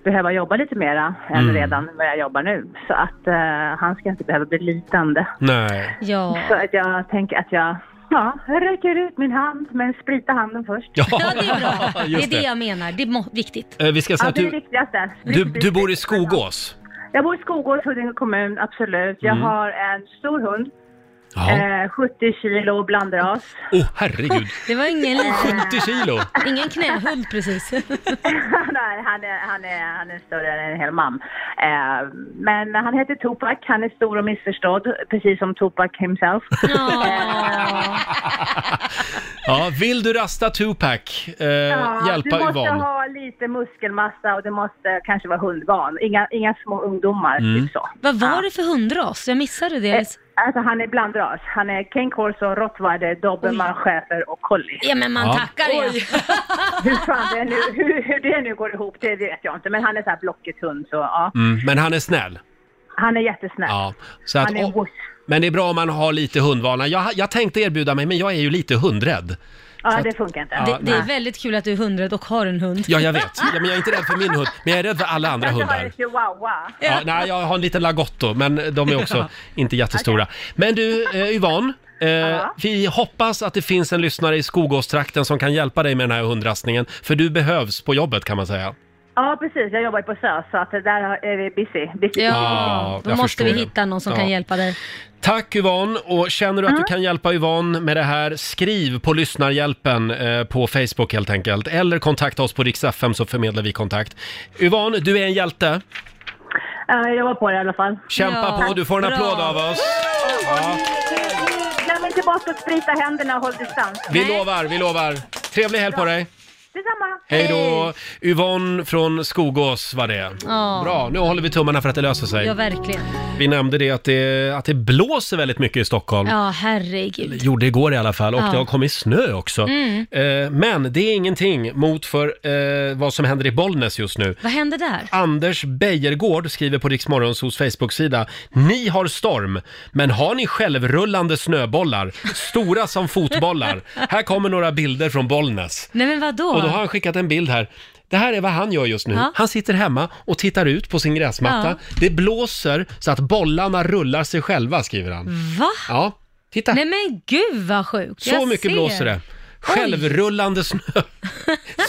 Speaker 11: behöva jobba lite mera än
Speaker 1: Mm.
Speaker 11: redan vad jag jobbar nu. Så att eh, han ska inte behöva bli lidande.
Speaker 1: Nej.
Speaker 2: Ja.
Speaker 11: Så att jag tänker att jag, ja, jag räcker ut min hand men sprita handen först.
Speaker 1: Ja,
Speaker 2: det är bra.
Speaker 1: [laughs] just
Speaker 2: det är
Speaker 1: det.
Speaker 2: det jag menar. Det är må- viktigt.
Speaker 1: Eh, Vi ska säga
Speaker 11: Ja,
Speaker 1: att
Speaker 11: det är det
Speaker 1: du,
Speaker 11: viktigaste.
Speaker 1: du, du bor i Skogås.
Speaker 11: Jag bor i Skogås, Huddinge kommun, absolut. Jag
Speaker 1: Mm.
Speaker 11: har en stor hund
Speaker 1: Ja.
Speaker 11: Eh, 70 kilo blandras.
Speaker 1: Åh, oh, herregud.
Speaker 2: Det var ingen
Speaker 1: [laughs]
Speaker 2: liten...
Speaker 1: 70 kilo.
Speaker 2: Ingen knähund
Speaker 1: [laughs]
Speaker 2: precis.
Speaker 11: [laughs] Nej, han är, han, är, han är större än en hel man. Eh, men han heter Tupac, han är stor och missförstådd, precis som Tupac himself.
Speaker 1: Ja, vill du rasta Tupac?
Speaker 11: [laughs]
Speaker 1: Eh,
Speaker 11: Ja,
Speaker 1: hjälpa
Speaker 11: du måste
Speaker 1: Yvonne.
Speaker 11: ha lite muskelmassa och du måste kanske vara hundvan. Inga, inga små ungdomar,
Speaker 1: Mm.
Speaker 11: typ så.
Speaker 2: Vad var det för hundras? Jag missade det.
Speaker 11: Eh, Alltså han är blandras. Han är King Corso, rottweiler, dobermann, schäfer och collie.
Speaker 2: Ja, men man Ja. tackar ja.
Speaker 11: Oj. hur, fan det nu, hur, hur det nu går ihop, det vet jag inte. Men han är så här blocket hund, så ja.
Speaker 1: Mm, men han är snäll.
Speaker 11: Han är jättesnäll.
Speaker 1: Ja, så att,
Speaker 11: han är en wush.
Speaker 1: men det är bra om man har lite hundvana. Jag, jag tänkte erbjuda mig, men jag är ju lite hundrädd.
Speaker 2: Ja,
Speaker 1: det
Speaker 11: funkar inte.
Speaker 1: Ja,
Speaker 2: det, det är
Speaker 1: nej.
Speaker 2: väldigt kul att du är hundrad och har en hund.
Speaker 1: Ja, jag vet. Ja, men jag är inte rädd för min hund, men jag är rädd för alla
Speaker 11: [laughs]
Speaker 1: andra hundar.
Speaker 11: chihuahua.
Speaker 1: Ja, nej, jag har en liten lagotto, men de är också
Speaker 11: Ja.
Speaker 1: inte jättestora. Men du, eh, Yvonne. Eh, Vi hoppas att det finns en lyssnare i Skogåstrakten som kan hjälpa dig med den här hundrastningen, för du behövs på jobbet kan man säga.
Speaker 11: Ja, precis. Jag jobbar ju på SÖS, så att där är vi busy. busy.
Speaker 1: Ja,
Speaker 2: Då
Speaker 1: Ah, jag
Speaker 2: måste vi
Speaker 1: förstår det.
Speaker 2: hitta någon som
Speaker 1: Ja.
Speaker 2: kan hjälpa dig.
Speaker 1: Tack Yvonne, och känner du att du
Speaker 2: Mm.
Speaker 1: kan hjälpa Yvonne med det här, skriv på lyssnarhjälpen eh, på Facebook helt enkelt, eller kontakta oss på Rix FM så förmedlar vi kontakt. Yvonne, du är en hjälte.
Speaker 11: Ja, Jag jobbar på det i alla fall.
Speaker 1: Kämpa på, du får en applåd av oss. Ja.
Speaker 11: Glöm inte bort att sprita händerna och håll distans.
Speaker 1: Vi lovar, vi lovar. Trevlig helg på dig.
Speaker 11: Detsamma.
Speaker 1: Hej då! Yvonne från Skogås var det.
Speaker 2: Ja.
Speaker 1: Bra, nu håller vi tummarna för att det löser
Speaker 2: Ja,
Speaker 1: sig.
Speaker 2: verkligen.
Speaker 1: Vi nämnde det att det, att det blåser väldigt mycket i Stockholm.
Speaker 2: Ja, herregud.
Speaker 1: Gjorde igår i alla fall och
Speaker 2: Ja.
Speaker 1: det har kommit snö också.
Speaker 2: Mm.
Speaker 1: Eh, men det är ingenting mot för eh, vad som händer i Bollnäs just nu.
Speaker 2: Vad hände där?
Speaker 1: Anders Beijergård skriver på Riksmorgonsos Facebook-sida. Ni har storm, men har ni självrullande snöbollar?
Speaker 2: [laughs]
Speaker 1: Stora som fotbollar. Här kommer några bilder från Bollnäs.
Speaker 2: Nej, men vadå?
Speaker 1: Och då har han skickat en bild här. Det här är vad han gör just nu.
Speaker 2: Ja.
Speaker 1: Han sitter hemma och tittar ut på sin gräsmatta.
Speaker 2: Ja.
Speaker 1: Det blåser så att bollarna rullar sig själva, skriver han.
Speaker 2: Va?
Speaker 1: Ja, titta.
Speaker 2: Nej men gud vad sjukt.
Speaker 1: så
Speaker 2: Jag
Speaker 1: mycket
Speaker 2: ser.
Speaker 1: blåser det.
Speaker 2: [laughs]
Speaker 1: Självrullande snö...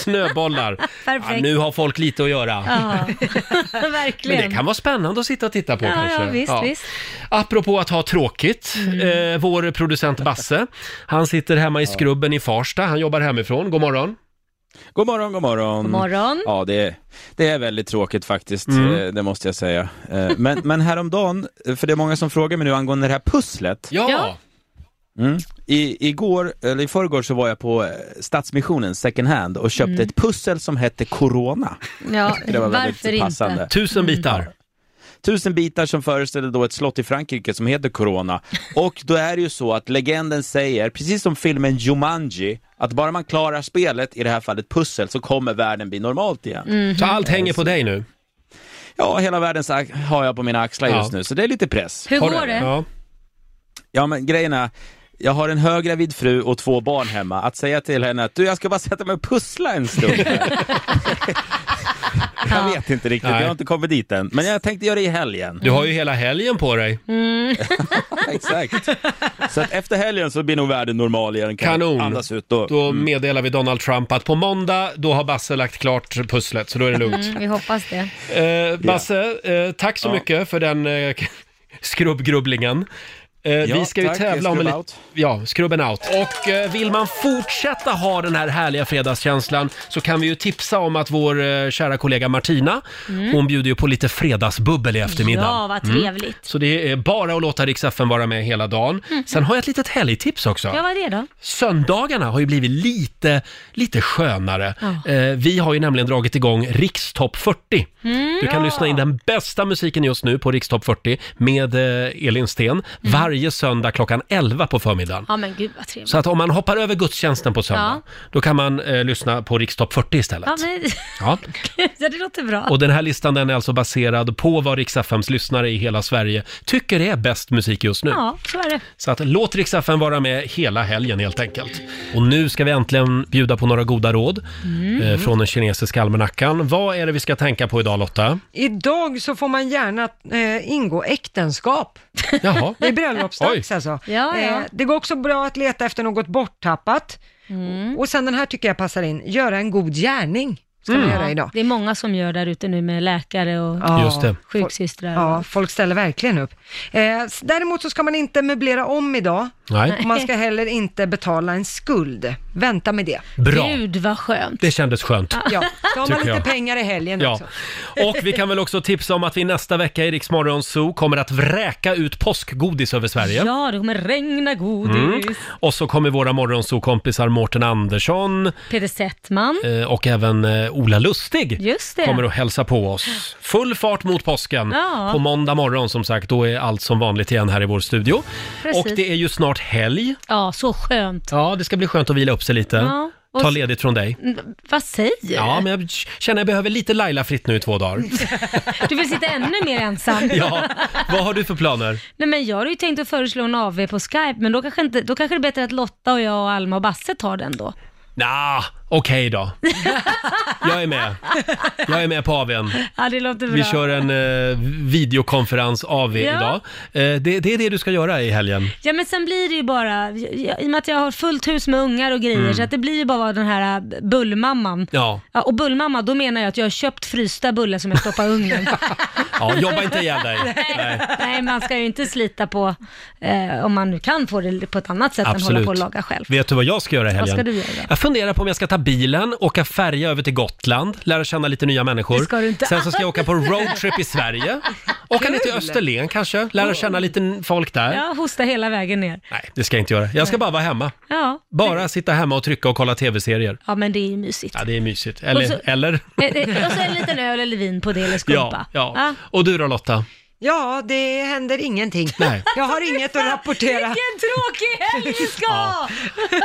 Speaker 1: snöbollar.
Speaker 2: Perfekt.
Speaker 1: Ja, nu har folk lite att göra.
Speaker 2: Ja, [laughs]
Speaker 1: Men
Speaker 2: verkligen.
Speaker 1: det kan vara spännande att sitta och titta på
Speaker 2: Ja,
Speaker 1: kanske.
Speaker 2: ja, visst, visst. Mm.
Speaker 1: Apropå att ha tråkigt, eh, vår producent Basse, han sitter hemma i skrubben i Farsta, han jobbar hemifrån. God morgon!
Speaker 6: God morgon, god morgon.
Speaker 2: God morgon.
Speaker 6: Ja, det är, det är väldigt tråkigt faktiskt,
Speaker 1: Mm.
Speaker 6: eh, det måste jag säga. Eh, Men, men häromdagen, eh, för det är många som frågar mig nu angående det här pusslet.
Speaker 1: Ja!
Speaker 6: Mm. I, igår, eller i förrgår så var jag på eh, Stadsmissionen second hand och köpte
Speaker 2: Mm.
Speaker 6: ett pussel som hette Corona.
Speaker 2: Ja,
Speaker 6: Det var väldigt
Speaker 2: varför
Speaker 6: passande.
Speaker 2: inte?
Speaker 1: Tusen bitar.
Speaker 6: Tusen bitar som föreställer då ett slott i Frankrike som heter
Speaker 1: [laughs]
Speaker 6: Corona. Och då är det ju så att legenden säger, precis som filmen Jumanji, att bara man klarar spelet, i det här fallet pussel, så kommer världen bli normalt igen.
Speaker 2: Mm.
Speaker 1: Mhm. Så allt hänger på dig nu?
Speaker 6: Ja, hela världen ax- har jag på mina axlar
Speaker 1: Ja.
Speaker 6: just nu, så det är lite press.
Speaker 2: Hur Har du- går det?
Speaker 1: Ja.
Speaker 6: ja, men grejen är, jag har en höggravid fru och två barn hemma. Att säga till henne att du, jag ska bara sätta mig och pussla en
Speaker 1: [laughs]
Speaker 6: stund. [laughs] här." jag vet inte riktigt,
Speaker 1: Nej.
Speaker 6: jag har inte kommit dit än. Men jag tänkte göra det i helgen.
Speaker 1: Du har ju hela helgen på dig.
Speaker 2: Mm.
Speaker 6: [laughs] Exakt. Så att efter helgen så blir nog världen normal igen. Kan
Speaker 1: Kanon.
Speaker 6: Andas ut då.
Speaker 1: Då
Speaker 2: Mm.
Speaker 1: meddelar vi Donald Trump att på måndag, då har Basse lagt klart pusslet, så då är det lugnt.
Speaker 2: Mm, vi hoppas det.
Speaker 1: Eh, Basse, eh, tack så
Speaker 6: Ja.
Speaker 1: mycket för den eh, [laughs] skrubbgrubblingen. Eh, vi ska ju
Speaker 6: tack.
Speaker 1: tävla om en
Speaker 6: Skrubb
Speaker 1: li-
Speaker 6: out.
Speaker 1: Ja, skrubben out. Och eh, vill man fortsätta ha den här härliga fredagskänslan så kan vi ju tipsa om att vår eh, kära kollega Martina,
Speaker 2: Mm.
Speaker 1: hon bjuder ju på lite fredagsbubbel i eftermiddag.
Speaker 2: Ja, vad trevligt.
Speaker 1: Så det är bara att låta Rix FM vara med hela dagen. Sen har jag ett litet helgtips också.
Speaker 2: Mm. Ja, vad är det då?
Speaker 1: Söndagarna har ju blivit lite, lite skönare. Eh, vi har ju nämligen dragit igång Rikstopp 40.
Speaker 2: Mm.
Speaker 1: Du kan
Speaker 2: Ja.
Speaker 1: lyssna in den bästa musiken just nu på Rikstopp 40 med eh, Elin Sten
Speaker 2: Mm.
Speaker 1: varje söndag klockan 11 på förmiddagen.
Speaker 2: Ja men gud vad trevligt.
Speaker 1: Så att om man hoppar över gudstjänsten på söndag, då kan man eh, lyssna på Rikstopp 40 istället.
Speaker 2: Ja, men...
Speaker 1: Ja.
Speaker 2: [laughs] ja det låter bra.
Speaker 1: Och den här listan den är alltså baserad på vad Rix FMs lyssnare i hela Sverige tycker är bäst musik just nu.
Speaker 2: Ja, så är det.
Speaker 1: Så att låt Rix FM vara med hela helgen helt enkelt. Och nu ska vi äntligen bjuda på några goda råd
Speaker 3: Mm.
Speaker 1: eh, från den kinesiska almanackan. Vad är det vi ska tänka på idag Lotta?
Speaker 3: Idag så får man gärna eh, ingå äktenskap.
Speaker 1: Jaha.
Speaker 3: [laughs] Det är bröllopsdags
Speaker 1: [laughs] Oj.
Speaker 3: alltså.
Speaker 2: Ja, ja.
Speaker 3: det går också bra att
Speaker 2: Mm.
Speaker 3: leta efter något borttappat. Och sen den här tycker jag passar in, göra en god gärning. ska man
Speaker 1: Mm.
Speaker 3: göra idag.
Speaker 2: Det är många som gör där ute nu med läkare och sjuksystrar.
Speaker 3: Ja, folk ställer verkligen upp. Eh, s- däremot så ska man inte möblera om idag.
Speaker 1: Nej.
Speaker 3: Och man
Speaker 2: [laughs]
Speaker 3: ska heller inte betala en skuld. Vänta med det.
Speaker 1: Bra.
Speaker 2: Gud vad skönt.
Speaker 1: Det kändes skönt.
Speaker 3: Ja, då har man
Speaker 1: Tycker
Speaker 3: lite
Speaker 1: jag.
Speaker 3: pengar i helgen
Speaker 1: Ja.
Speaker 3: också. [laughs]
Speaker 1: Och vi kan väl också tipsa om att vi nästa vecka i Rix Morgon Zoo kommer att vräka ut påskgodis över Sverige.
Speaker 2: Ja, det kommer regna godis.
Speaker 1: Mm. Och så kommer våra morgonzoo-kompisar Mårten Andersson
Speaker 2: Peter Settman.
Speaker 1: eh, och även eh, Ola Lustig
Speaker 2: Just det.
Speaker 1: kommer att hälsa på oss. Full fart mot påsken.
Speaker 2: Ja.
Speaker 1: På måndag morgon som sagt, då är allt som vanligt igen här i vår studio.
Speaker 2: Precis.
Speaker 1: Och det är ju snart helg.
Speaker 2: Ja, så skönt.
Speaker 1: Ja, det ska bli skönt att vila upp sig lite.
Speaker 2: Ja, och-
Speaker 1: Ta ledigt från dig.
Speaker 2: Mm, Vad säger du?
Speaker 1: Ja, men jag känner jag behöver lite Laila-fritt nu i
Speaker 2: [laughs]
Speaker 1: två dagar.
Speaker 2: Du vill sitta ännu mer ensam.
Speaker 1: Ja, vad har du för planer?
Speaker 2: Nej, men jag har ju tänkt att föreslå en AV på Skype, men då kanske, inte, då kanske det är bättre att Lotta och jag och Alma och Basse tar den då.
Speaker 1: Nja, okej då. Jag är med. Jag är med på AWn.
Speaker 2: Ja, det låter bra.
Speaker 1: Vi kör en eh, videokonferens AV
Speaker 2: Ja.
Speaker 1: idag. Eh, det, det är det du ska göra i helgen.
Speaker 2: Ja, men sen blir det ju bara, jag, i och med att jag har fullt hus med ungar och grejer,
Speaker 1: Mm.
Speaker 2: så att det blir ju bara den här äh, bullmamman.
Speaker 1: Ja,
Speaker 2: Ja, och bullmamma, då menar jag att jag har köpt frysta bullar som jag stoppar i
Speaker 1: [laughs]
Speaker 2: ugnen.
Speaker 1: ja jobba inte ihjäl dig. Nej.
Speaker 2: Nej, man ska ju inte slita på, eh, om man nu kan få det på ett annat sätt än hålla
Speaker 1: Absolut.
Speaker 2: på och laga själv.
Speaker 1: Vet du vad jag ska göra i
Speaker 2: Vad
Speaker 1: helgen?
Speaker 2: ska du göra?
Speaker 1: Jag funderar på om jag ska ta bilen, åka färja över till Gotland, lära känna lite nya människor.
Speaker 2: Det ska du inte
Speaker 1: Sen så ska jag
Speaker 2: alls.
Speaker 1: åka på roadtrip
Speaker 2: [laughs]
Speaker 1: i Sverige. Åka ner till
Speaker 2: Kul.
Speaker 1: Österlen kanske, lära känna lite folk där.
Speaker 2: Ja, hosta hela vägen ner.
Speaker 1: Nej, det ska jag inte göra. Jag ska bara vara hemma.
Speaker 2: Ja,
Speaker 1: Bara sitta hemma och trycka och kolla tv-serier.
Speaker 2: ja men det är ju mysigt.
Speaker 1: Ja, det är mysigt. Eller?
Speaker 2: Och så-
Speaker 1: eller? [laughs]
Speaker 2: Eh, eh, Och så en liten öl eller vin på det eller
Speaker 1: Ja,
Speaker 2: skumpa.
Speaker 1: ja. Och du då Lotta?
Speaker 3: Ja, det händer ingenting.
Speaker 1: Nej.
Speaker 3: Jag har inget att rapportera.
Speaker 2: Vilken tråkig helg vi ska ha!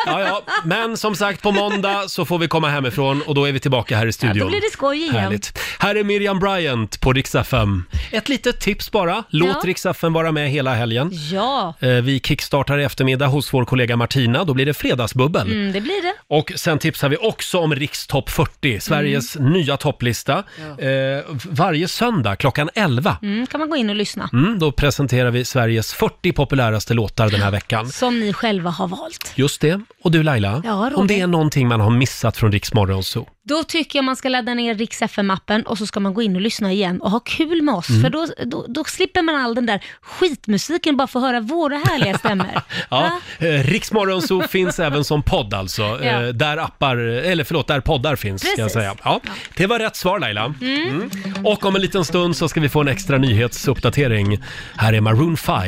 Speaker 1: Ja, ja. Men som sagt, på måndag så får vi komma hemifrån och då är vi tillbaka här i studion.
Speaker 2: då blir det skoj igen.
Speaker 1: Härligt. Här är Miriam Bryant på Rix FM. Ett litet tips bara. Låt
Speaker 2: Ja.
Speaker 1: Rix FM vara med hela helgen.
Speaker 2: Ja,
Speaker 1: Eh, Vi kickstartar i eftermiddag hos vår kollega Martina. Då blir det fredagsbubbel.
Speaker 2: mm, det blir det.
Speaker 1: Och sen tipsar vi också om Rikstopp 40, Sveriges
Speaker 2: Mm.
Speaker 1: nya topplista. Eh, varje söndag klockan 11.
Speaker 2: Mm, kan man gå in och lyssna.
Speaker 1: Mm, då presenterar vi Sveriges 40 populäraste låtar den här veckan.
Speaker 2: Som ni själva har valt.
Speaker 1: Just det. Och du Laila,
Speaker 2: Ja, Roger.
Speaker 1: om det är någonting man har missat från Rix Morgonzoo.
Speaker 2: Då tycker jag man ska ladda ner Rix FM-appen och så ska man gå in och lyssna igen och ha kul med oss.
Speaker 1: Mm.
Speaker 2: För då, då, då slipper man all den där skitmusiken bara få höra våra härliga stämmor.
Speaker 1: [laughs] Ja, eh, Rix Morgonzoo [laughs] finns även som podd alltså. Eh, Där appar, eller förlåt, där poddar finns ska jag
Speaker 2: Precis.
Speaker 1: säga. Ja, det var rätt svar Laila.
Speaker 2: Mm.
Speaker 1: Och om en liten stund så ska vi få en extra nyhetsuppdatering. Här är Maroon 5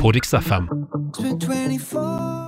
Speaker 1: på Rix FM.